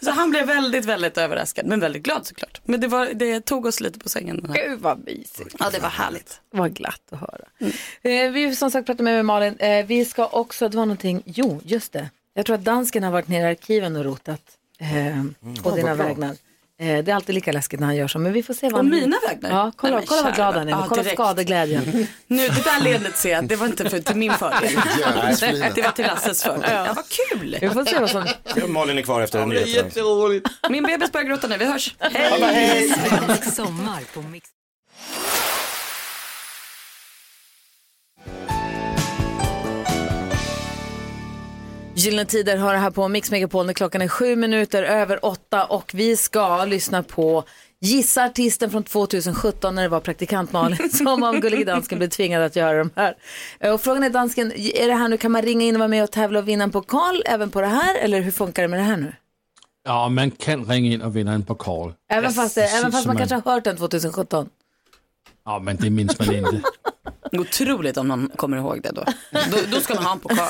Speaker 12: så han blev väldigt, väldigt överraskad men väldigt glad såklart. Men det, var, det tog oss lite på sängen. den här.
Speaker 6: Gud vad mysigt.
Speaker 12: Ja det var härligt. Mm.
Speaker 6: Vad glatt att höra. Eh, vi som sagt pratar med Malin. Eh, vi ska också, det var någonting, jo just det. Jag tror att dansken har varit nere i arkiven och rotat eh, på
Speaker 12: Mm. Ja,
Speaker 6: dina
Speaker 12: vad bra.
Speaker 6: vägnar. Eh, det är alltid lika läskigt när han gör så, men vi får se vad
Speaker 12: På
Speaker 6: han...
Speaker 12: mina vägnar?
Speaker 6: Ja, kolla,
Speaker 12: Nej, men
Speaker 6: kolla
Speaker 12: kära
Speaker 6: vad glad han är.
Speaker 12: vän. Ja,
Speaker 6: kolla
Speaker 12: direkt.
Speaker 6: skadeglädjen.
Speaker 12: Nu, det där leendet ser jag, det var inte för, till min fördel.
Speaker 3: Jävlar.
Speaker 12: det var till Lasses fördel. Ja, vad kul!
Speaker 6: Vi får se vad som...
Speaker 3: Malin är kvar efter
Speaker 12: det är
Speaker 3: nyheterna.
Speaker 12: jätteroligt. Min bebis börjar gråta nu, vi hörs.
Speaker 10: Hej! Svensk sommar på Mix.
Speaker 6: Gyllene Tider har det här på Mix Megapol när klockan är sju minuter över åtta och vi ska lyssna på Gissa artisten från 2017 när det var praktikant Malin som av gullige dansken blev tvingad att göra de här. Eh, Och frågan är dansken, är det här nu, kan man ringa in och vara med och tävla och vinna en pokal även på det här eller hur funkar det med det här nu?
Speaker 7: Ja, man kan ringa in och vinna en pokal.
Speaker 6: Även, fast, det, även fast
Speaker 7: som
Speaker 6: man
Speaker 7: man-
Speaker 6: kanske har hört den 2017?
Speaker 7: Ja, men det minns man inte.
Speaker 12: Otroligt om någon kommer ihåg det då. Då, då ska man ha en pokal.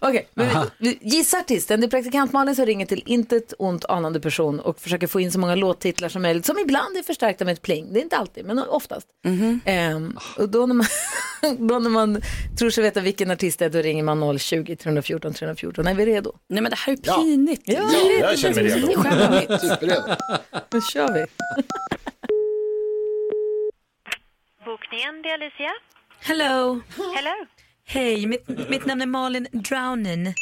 Speaker 6: Okej, men vi- vi- gissa artisten. Det är praktikant Malin som ringer till intet ont anande person och försöker få in så många låttitlar som möjligt som ibland är förstärkta med ett pling. Det är inte alltid, men oftast. Ehm, och då när, man då när man tror sig veta vilken artist det är, då ringer man 020-314 314. Är vi redo?
Speaker 12: Nej men det här är pinigt.
Speaker 6: Ja, Ja, det är
Speaker 3: jag känner mig redo.
Speaker 6: Skämmigt.
Speaker 4: Superredo.
Speaker 6: Nu kör vi.
Speaker 10: Bokningen, det är Alicia.
Speaker 14: Hello.
Speaker 9: Mm.
Speaker 10: Hello.
Speaker 14: Hej, mitt, mitt namn är Malin Drownen.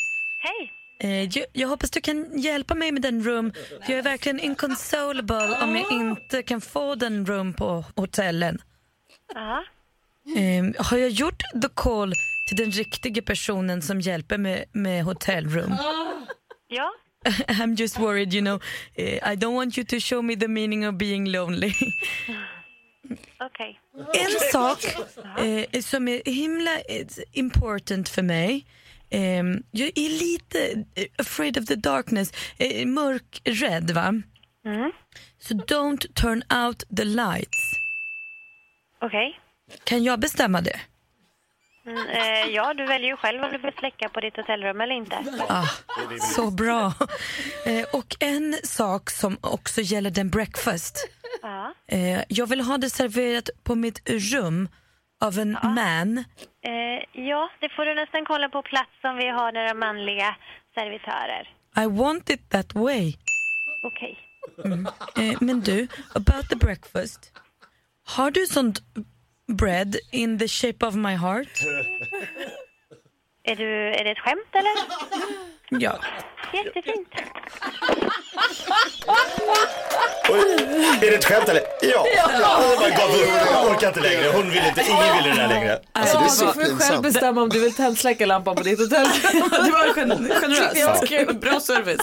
Speaker 10: Hej.
Speaker 14: Eh, jag, jag hoppas du kan hjälpa mig med den room. Jag är verkligen inconsolable om jag inte kan få den room på hotellen.
Speaker 10: Ja.
Speaker 14: Ehm, har jag gjort the call till den riktiga personen som hjälper mig med hotellrum?
Speaker 10: Ja.
Speaker 14: I'm just worried, you know. Eh, I don't want you to show me the meaning of being lonely.
Speaker 10: Okej.
Speaker 14: En sak eh, som är himla eh, important för mig. ehm, jag är lite eh, afraid of the darkness, eh, mörkrädd va?
Speaker 10: Mm.
Speaker 14: Så don't turn out the lights.
Speaker 10: Okej.
Speaker 14: Kan jag bestämma det?
Speaker 10: Mm, eh, ja, du väljer ju själv om du vill släcka på ditt hotellrum eller inte.
Speaker 14: Ah, så bra. Eh, och en sak som också gäller den breakfast.
Speaker 10: Ja.
Speaker 14: Eh, jag vill ha det serverat på mitt rum av en man.
Speaker 10: Eh, ja, det får du nästan kolla på plats om vi har några manliga servitörer.
Speaker 14: I want it that way.
Speaker 10: Okej.
Speaker 14: Mm. Eh, men du, about the breakfast. Har du sånt bread in the shape of my heart?
Speaker 10: Är, du, är det ett skämt eller?
Speaker 14: Ja.
Speaker 10: Jättefint.
Speaker 3: Är det ett skämt eller? Ja.
Speaker 6: Ja.
Speaker 3: ja. Jag bara gav upp. Jag orkar inte längre. Hon vill inte. Ingen vill det där längre. Alltså, det är så
Speaker 6: du får själv
Speaker 3: pinsamt.
Speaker 6: bestämma om du vill tändsläcka lampan på ditt hotell.
Speaker 12: Det var gen-
Speaker 6: Det var
Speaker 12: generöst.
Speaker 6: kul.
Speaker 12: Bra service.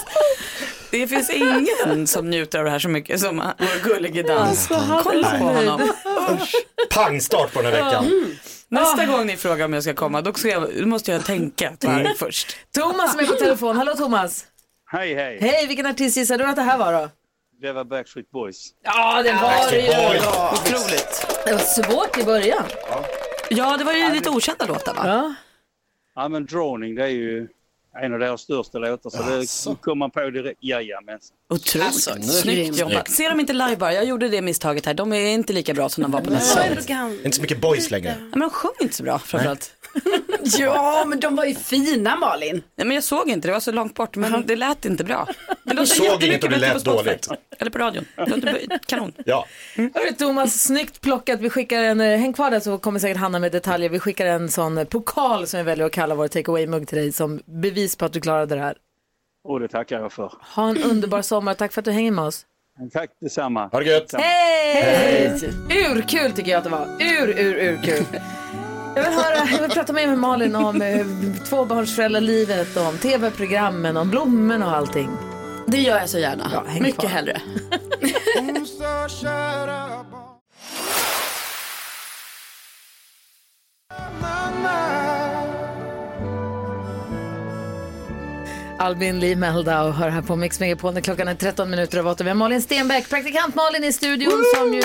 Speaker 12: Det finns ingen som njuter av det här så mycket som vår gullige dans. Kolla på honom.
Speaker 3: Pangstart på den här veckan.
Speaker 12: Nästa gång ni frågar om jag ska komma då, ska jag, då måste jag tänka ett varv först.
Speaker 6: Thomas som är på telefon. Hallå Thomas.
Speaker 15: Hej, hej.
Speaker 6: Hej, vilken artist gissar du att det här var då?
Speaker 15: Det var Backstreet Boys.
Speaker 6: Ja, det var det ju.
Speaker 12: Otroligt.
Speaker 6: Det var svårt i början.
Speaker 12: Ja, det var ju lite okända låtar va?
Speaker 6: Ja.
Speaker 15: Ja, men Droning det är ju en av deras största låtar så det kom man på direkt. Jajamensan.
Speaker 12: Otroligt.
Speaker 15: Alltså,
Speaker 12: Snyggt jobbat. Ser de inte live bara? Jag gjorde det misstaget här. De är inte lika bra som de var på den
Speaker 3: Nej.
Speaker 12: här
Speaker 3: Inte så mycket boys längre.
Speaker 12: Men de sjöng inte så bra framförallt.
Speaker 2: Ja, men de var ju fina Malin.
Speaker 12: Nej, men jag såg inte, det var så långt bort. Men det lät inte bra. Men
Speaker 3: Du såg inget och det lät dåligt.
Speaker 12: Eller på radion. Det låter Kanon.
Speaker 3: Ja.
Speaker 6: Hörru Thomas, snyggt plockat. Vi skickar en, eh, häng kvar där så kommer säkert Hanna med detaljer. Vi skickar en sån eh, pokal som vi väljer att kalla vår take away-mugg till dig som bevis på att du klarade det här.
Speaker 15: Och det tackar jag för.
Speaker 6: Ha en underbar sommar. Tack för att du hänger med oss.
Speaker 15: Tack detsamma.
Speaker 3: Ha det gött.
Speaker 6: Hej! Urkul tycker jag att det var. Ur, ur, urkul. Jag vill, höra, jag vill prata mer med Malin om eh, tvåbarnsföräldralivet, om tv-programmen, om blommorna och allting.
Speaker 12: Det gör jag så gärna. Mycket hellre.
Speaker 6: Albin Lee Melda och hör här på Mix Megapol när klockan är 13 minuter över åtta. Vi har Malin Stenbeck, praktikant Malin i studion som ju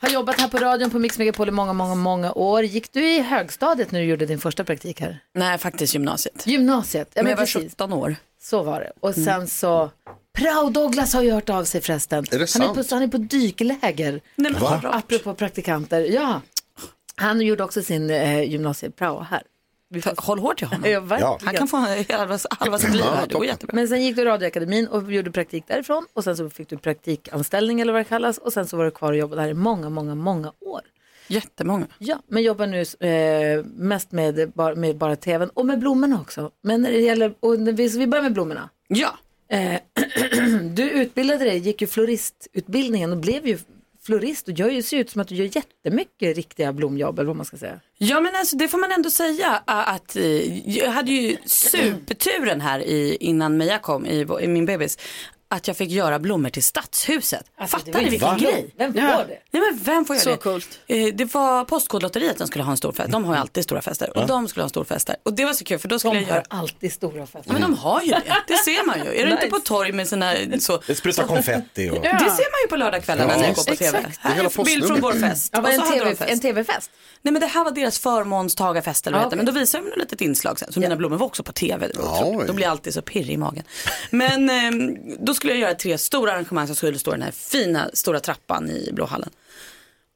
Speaker 6: har jobbat här på radion på Mix Megapol i många, många, många år. Gick du i högstadiet när du gjorde din första praktik här?
Speaker 12: Nej, faktiskt gymnasiet.
Speaker 6: Gymnasiet, ja,
Speaker 12: Men jag var Mm.
Speaker 6: precis.
Speaker 12: 17 år.
Speaker 6: Så var det. Och sen så, Prao Douglas har ju hört av sig förresten.
Speaker 12: Är det
Speaker 6: han, är
Speaker 12: sant?
Speaker 6: på, han är på dykläger.
Speaker 12: Nej, men Va?
Speaker 6: Apropå praktikanter, ja. Han gjorde också sin eh, gymnasieprao här. Vi får...
Speaker 12: Håll hårt i honom.
Speaker 6: Ja, verkligen.
Speaker 12: Han kan få halva, halva sitt liv här. Det går jättebra.
Speaker 6: Men sen gick du Radioakademin och gjorde praktik därifrån och sen så fick du praktikanställning eller vad det kallas och sen så var du kvar och jobbade här i många, många, många år.
Speaker 12: Jättemånga.
Speaker 6: Ja, men jobbar nu eh, mest med, bara- med bara tvn och med blommorna också. Men när det gäller, och när vi, så vi börjar med blommorna.
Speaker 12: Ja.
Speaker 6: Eh, du utbildade dig, gick ju floristutbildningen och blev ju florist och gör ju, ser ut som att du gör jättemycket riktiga blomjobb eller vad man ska säga.
Speaker 12: Ja men alltså det får man ändå säga ä, att eh, jag hade ju superturen här i, innan Mia kom i, vå- i min bebis. Att jag fick göra blommor till stadshuset. Fattar
Speaker 6: var
Speaker 12: ni
Speaker 6: ju
Speaker 12: vilken
Speaker 6: va?
Speaker 12: grej?
Speaker 6: Vem får
Speaker 12: Ja.
Speaker 6: det?
Speaker 12: Nej men vem får göra
Speaker 6: Så
Speaker 12: det? coolt. Mm. Det var Postkodlotteriet som skulle ha en stor fest. De har ju alltid stora fester. Och
Speaker 6: Ja.
Speaker 12: de skulle ha en stor fest där. Och det var så kul för då skulle
Speaker 6: De
Speaker 12: jag göra.
Speaker 6: har alltid stora fester.
Speaker 12: Ja, men de har ju det. Det ser man ju. Är du
Speaker 6: Nice.
Speaker 12: inte på torg med sina så.
Speaker 3: Det sprutar konfetti och...
Speaker 12: Det ser man ju på lördagskvällarna
Speaker 3: Ja.
Speaker 12: när jag går på tv.
Speaker 3: Exakt. Det är
Speaker 12: Här
Speaker 3: hela
Speaker 12: är en bild från
Speaker 3: postnumret.
Speaker 12: vår fest.
Speaker 6: Ja, var det
Speaker 12: Och så
Speaker 6: en
Speaker 12: hade de
Speaker 6: TV en tv-fest?
Speaker 12: Nej men det här var deras förmånstagarfest eller vad det
Speaker 6: Ah,
Speaker 12: heter. Men då visade de ett litet inslag sen. Så mina blommor var också på tv. Det var otroligt. då blir jag alltid så pirrig i magen. Men ehm, då skulle jag göra tre stora arrangemang som skulle stå i den här fina stora trappan i Blåhallen.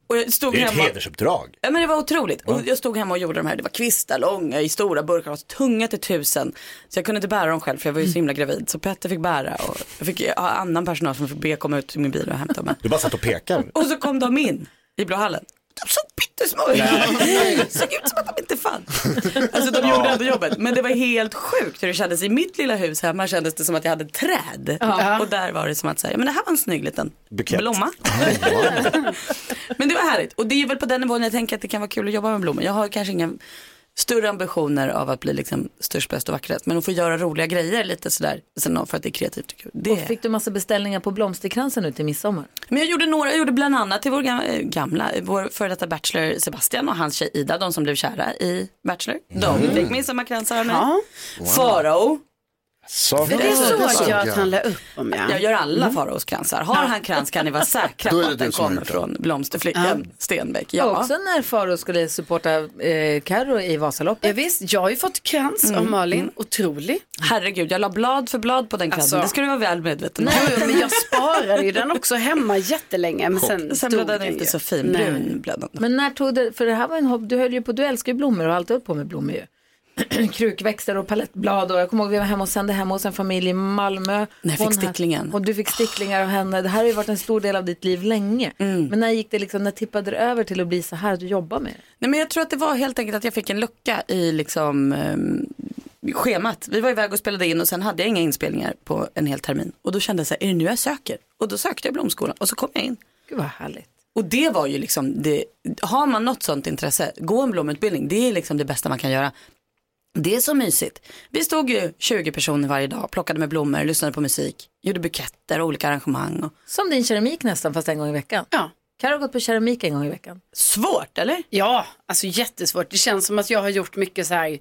Speaker 12: Och jag stod
Speaker 3: Det är ett
Speaker 12: hemma.
Speaker 3: hedersuppdrag.
Speaker 12: Ja men det var otroligt. Och jag stod hemma och gjorde de här. Det var kvistar långa i stora burkar. Och så tunga till tusen. Så jag kunde inte bära dem själv för jag var ju så himla gravid. Så Petter fick bära. Och jag fick ha annan personal som fick be komma ut till min bil och hämta mig.
Speaker 3: Du bara satt och pekade.
Speaker 12: Och så kom de in i Blåhallen. De såg pyttesmå ut. såg ut som att de inte fanns. Alltså de gjorde ändå jobbet. Men det var helt sjukt hur det kändes. I mitt lilla hus hemma kändes det som att jag hade ett träd.
Speaker 6: Ja.
Speaker 12: Och där var det som att säga, men det här var en snygg liten
Speaker 3: Bukett.
Speaker 12: blomma. men det var härligt. Och det är väl på den nivån jag tänker att det kan vara kul att jobba med blommor. Jag har kanske inga större ambitioner av att bli liksom störst, bäst och vackrast. Men att få göra roliga grejer lite sådär. Sen för att det är kreativt och kul. Det
Speaker 6: Och fick du massa beställningar på blomsterkransen nu till midsommar?
Speaker 12: men jag gjorde några, jag gjorde bland annat till vår gam- eh, gamla, eh, vår före detta bachelor Sebastian och hans tjej Ida, de som blev kära i Bachelor. De
Speaker 2: Mm.
Speaker 12: fick midsommarkransar av mig.
Speaker 2: Ja.
Speaker 3: Wow.
Speaker 12: Farao.
Speaker 3: Så.
Speaker 12: Men det såg jag att han la
Speaker 2: upp om ja.
Speaker 12: Jag gör alla
Speaker 2: Mm.
Speaker 12: Faraos kransar. Har han krans kan ni vara säkra
Speaker 2: Då
Speaker 12: på
Speaker 2: är det
Speaker 12: att den
Speaker 2: du som har
Speaker 12: kommer
Speaker 2: gjort det.
Speaker 12: från blomsterflickan Stenbeck. Ja.
Speaker 6: Också när Faro skulle supporta eh, Karo i Vasaloppet.
Speaker 2: Ja, visst, jag har ju fått krans
Speaker 12: Mm.
Speaker 2: av Malin.
Speaker 12: Mm.
Speaker 2: Otrolig.
Speaker 12: Herregud, jag la blad för blad på den kransen.
Speaker 2: Alltså.
Speaker 12: Det ska du vara väl medveten om.
Speaker 2: Nej, men jag sparade ju den också hemma jättelänge. Men sen,
Speaker 12: Sen
Speaker 2: dog
Speaker 12: blev den inte
Speaker 2: ju.
Speaker 12: så fin,
Speaker 2: Nej.
Speaker 12: brun blev den.
Speaker 6: Men när tog det, för det här var en hopp, du höll ju på, du älskar ju blommor och har alltid hållit på med blommor ju. Krukväxter och palettblad och jag kommer ihåg vi var hemma och sände hemma hos en familj i Malmö.
Speaker 12: När jag fick
Speaker 6: Hon-
Speaker 12: sticklingen.
Speaker 6: Och du fick sticklingar av henne. Det här har ju varit en stor del av ditt liv länge.
Speaker 12: Mm.
Speaker 6: Men när gick det liksom, när tippade det över till att bli så här att du jobbar med det?
Speaker 12: Nej, men jag tror att det var helt enkelt att jag fick en lucka i liksom, ehm, schemat. Vi var iväg och spelade in och sen hade jag inga inspelningar på en hel termin. Och då kände jag så här, är det nu jag söker? Och då sökte jag Blomskolan och så kom jag in.
Speaker 6: Gud vad härligt.
Speaker 12: Och det var ju liksom, det, har man något sånt intresse, gå en blomutbildning, det är liksom det bästa man kan göra. Det är så mysigt. Vi stod ju 20 personer varje dag, plockade med blommor, lyssnade på musik, gjorde buketter och olika arrangemang. Och...
Speaker 6: Som din keramik nästan, fast en gång i veckan.
Speaker 2: Ja.
Speaker 6: Karo har gått på keramik en gång i veckan.
Speaker 12: Svårt eller?
Speaker 2: Ja, alltså jättesvårt. Det känns som att jag har gjort mycket så här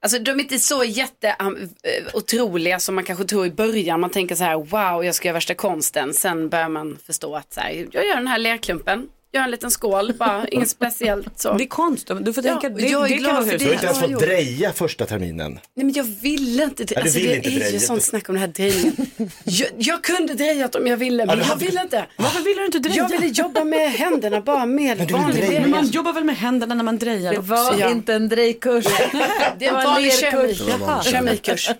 Speaker 2: Alltså de är inte så jätte um, otroliga som man kanske tror i början. Man tänker så här wow jag ska göra värsta konsten. Sen börjar man förstå att så här, jag gör den här lerklumpen, gör en liten skål, bara inget speciellt så.
Speaker 12: Det är konst, du får tänka,
Speaker 2: Ja, och
Speaker 12: det,
Speaker 2: jag är
Speaker 12: det kan
Speaker 2: glad
Speaker 12: vara
Speaker 2: för
Speaker 12: hur
Speaker 3: Du
Speaker 2: det.
Speaker 12: som
Speaker 3: har
Speaker 12: helst.
Speaker 3: inte ens
Speaker 2: har jag
Speaker 3: fått dreja första terminen.
Speaker 2: Nej men jag ville inte, det.
Speaker 3: du
Speaker 2: alltså,
Speaker 3: ville
Speaker 2: det
Speaker 3: inte
Speaker 2: är
Speaker 3: dreja.
Speaker 2: ju sånt snack om den här drejningen. Jag, jag kunde drejat om jag ville men
Speaker 3: du
Speaker 2: jag
Speaker 3: hade-
Speaker 2: ville inte.
Speaker 12: Varför ville du inte dreja?
Speaker 2: Jag ville jobba med händerna, bara med vanlig
Speaker 12: Men man
Speaker 2: drejning.
Speaker 12: jobbar väl med händerna när man drejar
Speaker 6: Det var
Speaker 2: Ja.
Speaker 6: inte en drejkurs.
Speaker 2: Det var en
Speaker 6: en
Speaker 2: vanlig
Speaker 6: lerkurs.
Speaker 2: keramik-
Speaker 6: Jaha.
Speaker 2: keramikkurs.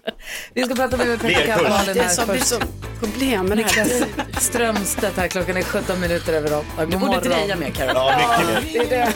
Speaker 6: Vi ska prata med praktikant
Speaker 3: Lerkurs.
Speaker 6: Malin
Speaker 2: Det är
Speaker 6: här
Speaker 2: så, det är
Speaker 6: först.
Speaker 2: så problem med det här.
Speaker 6: Niklas Strömstedt här, klockan är 17 minuter över åtta. God
Speaker 12: Du borde
Speaker 6: morgon.
Speaker 12: dreja mer Carro.
Speaker 3: Ja, mycket mer.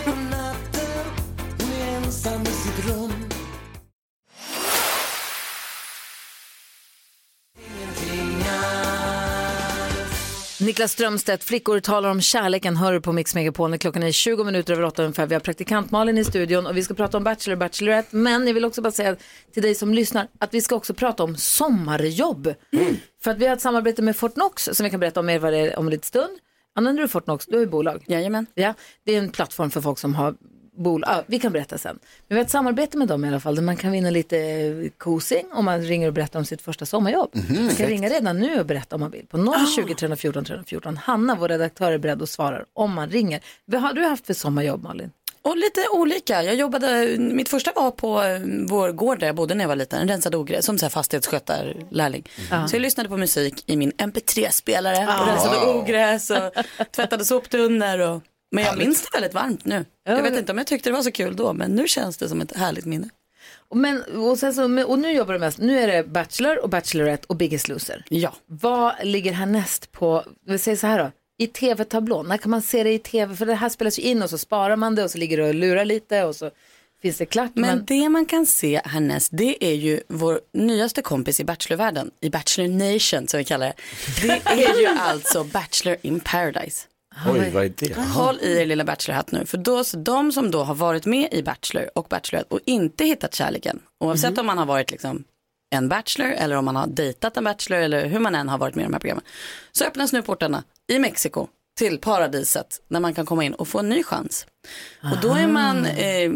Speaker 6: Niklas Strömstedt, flickor talar om kärleken, hör du på Mix Megapol när klockan är 20 minuter över 8 ungefär. Vi har praktikant Malin i studion och vi ska prata om Bachelor och Bachelorette. Men jag vill också bara säga till dig som lyssnar att vi ska också prata om sommarjobb.
Speaker 12: Mm.
Speaker 6: För att vi har ett samarbete med Fortnox som vi kan berätta om mer vad det är om en liten stund. Använder du Fortnox? Du är bolag.
Speaker 12: Jajamän.
Speaker 6: Ja, det är en plattform för folk som har bolag. Ah, vi kan berätta sen. Men vi har ett samarbete med dem i alla fall där man kan vinna lite eh, kosing om man ringer och berättar om sitt första sommarjobb. man kan ringa redan nu och berätta om man vill på 020 314 314. Hanna, vår redaktör, är beredd och svarar om man ringer. Vad har du haft för sommarjobb Malin?
Speaker 12: Och lite olika. Jag jobbade, mitt första var på eh, vår gård där jag bodde när jag var liten, en rensad ogräs, som så här fastighetsskötarlärling. Så jag lyssnade på musik i min mp3-spelare och rensade ogräs och tvättade soptunnor. Och... Men jag minns det väldigt varmt nu. Jag vet inte om jag tyckte det var så kul då, men nu känns det som ett härligt minne.
Speaker 6: Och, men, och, sen så, men- och nu jobbar du mest, nu är det Bachelor och Bachelorette och Biggest Loser.
Speaker 12: Ja.
Speaker 6: Vad ligger härnäst på, vi säger så här då, i tv-tablån, när kan man se det i tv? För det här spelas ju in och så sparar man det och så ligger det och lurar lite och så finns det klart.
Speaker 12: Men, det man kan se härnäst det är ju vår nyaste kompis i Bachelorvärlden, i Bachelor Nation som vi kallar det. Det är ju alltså Bachelor in Paradise.
Speaker 3: Oj, vad är det?
Speaker 12: Håll i er lilla Bachelorhatt nu, för då, de som då har varit med i Bachelor och Bachelorette och inte hittat kärleken, oavsett
Speaker 3: Mhm.
Speaker 12: om man har varit liksom en bachelor eller om man har dejtat en bachelor eller hur man än har varit med i de här programmen, så öppnas nu portarna i Mexiko till paradiset där man kan komma in och få en ny chans. Och då är man eh,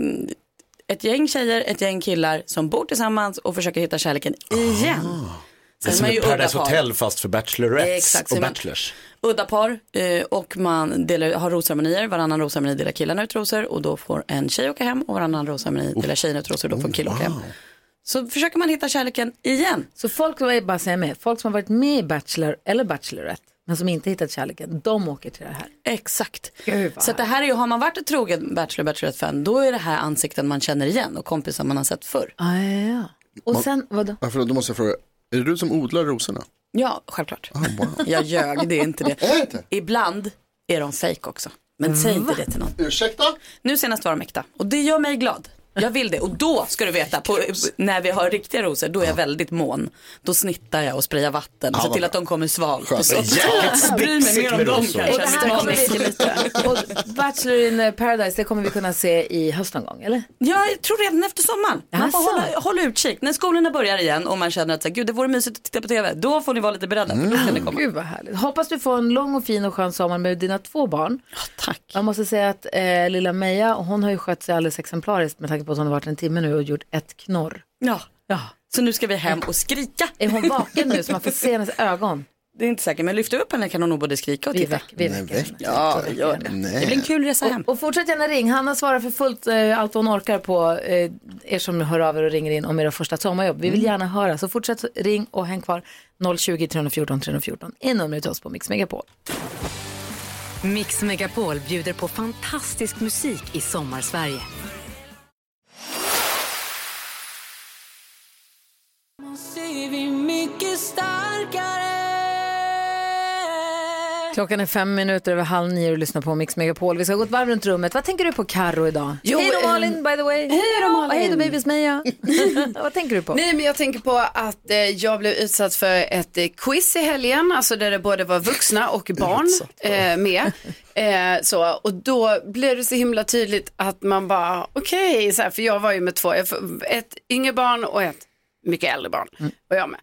Speaker 12: ett gäng tjejer, ett gäng killar som bor tillsammans och försöker hitta kärleken igen.
Speaker 3: Det
Speaker 12: Sen
Speaker 3: är som
Speaker 12: är man ju
Speaker 3: ett Paradise
Speaker 12: udda par.
Speaker 3: Hotel fast för Bachelorettes
Speaker 12: Exakt, så
Speaker 3: och
Speaker 12: är man-
Speaker 3: Bachelors.
Speaker 12: udda par eh, och man delar, har rosceremonier. Varannan rosceremoni delar killarna ut rosor och då får en tjej åka hem och varannan rosceremoni delar tjejerna ut rosor och då får en kille åka hem. Så försöker man hitta kärleken igen.
Speaker 6: Så folk, som är- bara säga med, folk som har varit med i Bachelor eller Bachelorette, men som inte hittat kärleken, de åker till det här.
Speaker 12: Exakt.
Speaker 6: Gud, vad
Speaker 12: så att det här är ju, har man varit ett trogen Bachelor Bachelorette-fan då är det här ansikten man känner igen och kompisar man har sett förr.
Speaker 6: Ah, ja, ja. Och sen, vadå?
Speaker 4: Ja, förlåt, då måste jag fråga, är det du som odlar rosorna?
Speaker 12: Ja, självklart.
Speaker 4: Oh, wow.
Speaker 12: Jag ljög, det är inte det.
Speaker 4: Är det inte?
Speaker 12: Ibland är de fake också.
Speaker 6: Mm.
Speaker 12: Men säg inte det till någon.
Speaker 4: Ursäkta?
Speaker 12: Nu senast var de äkta och det gör mig glad. Jag vill det och då ska du veta, på, när vi har riktiga rosor, då är jag väldigt mån. Då snittar jag och sprayar vatten och ser
Speaker 4: vad
Speaker 12: till
Speaker 4: bra.
Speaker 12: att de kommer svalt.
Speaker 4: Skönt.
Speaker 12: Och så.
Speaker 3: Jäkligt
Speaker 12: Bryr mig
Speaker 3: spexigt
Speaker 12: mer om
Speaker 3: med
Speaker 12: dem
Speaker 3: rosor.
Speaker 12: kanske.
Speaker 6: Och det här kommer vi Och Bachelor in eh, Paradise, det kommer vi kunna se i höst någon gång, eller?
Speaker 12: Ja, jag tror redan efter sommaren. Man får
Speaker 6: Jaså?
Speaker 12: hålla, hålla utkik. När skolorna börjar igen och man känner att så här, Gud, det vore mysigt att titta på tv, då får ni vara lite beredda. För då kan det komma.
Speaker 6: Gud vad härligt. Hoppas du får en lång och fin och skön sommar med dina två barn.
Speaker 12: Tack.
Speaker 6: Jag måste säga att eh, lilla Meja, hon har ju skött sig alldeles exemplariskt med tanke på att hon har varit en timme nu och gjort ett knorr.
Speaker 12: Ja. Så nu ska vi hem och skrika.
Speaker 6: Är hon vaken nu så man får se hennes ögon?
Speaker 12: Det är inte säkert, men lyft upp henne kan hon nog både skrika och
Speaker 6: Vi
Speaker 12: titta.
Speaker 6: väck, vi väcker henne.
Speaker 12: Ja, vi gör det. Det blir en kul resa hem.
Speaker 6: Och, och fortsätt gärna ring. Hanna svarar för fullt eh, allt hon orkar på eh, er som hör av er och ringer in om era första sommarjobb. Vi vill
Speaker 12: Mm.
Speaker 6: gärna höra, så fortsätt ring och häng kvar. 020 314 314 är numret till oss på Mix Megapol.
Speaker 16: Mix Megapol bjuder på fantastisk musik i sommarsverige.
Speaker 13: Ser vi mycket starkare
Speaker 6: Klockan är fem minuter över halv nio och lyssnar på Mix Megapol. Vi ska gå ett varv runt rummet. Vad tänker du på Karo idag?
Speaker 2: Jo,
Speaker 6: hej då
Speaker 2: eh,
Speaker 6: Malin by the way.
Speaker 2: hej då, Malin.
Speaker 6: Och hej då Babys Meja. Vad tänker du på?
Speaker 2: Nej, men jag tänker på att eh, jag blev utsatt för ett eh, quiz i helgen, alltså där det både var vuxna och barn eh, med. Eh, så, och då blev det så himla tydligt att man bara, okej, så här, för jag var ju med två, jag, ett yngre barn och ett mycket äldre barn. Och jag med.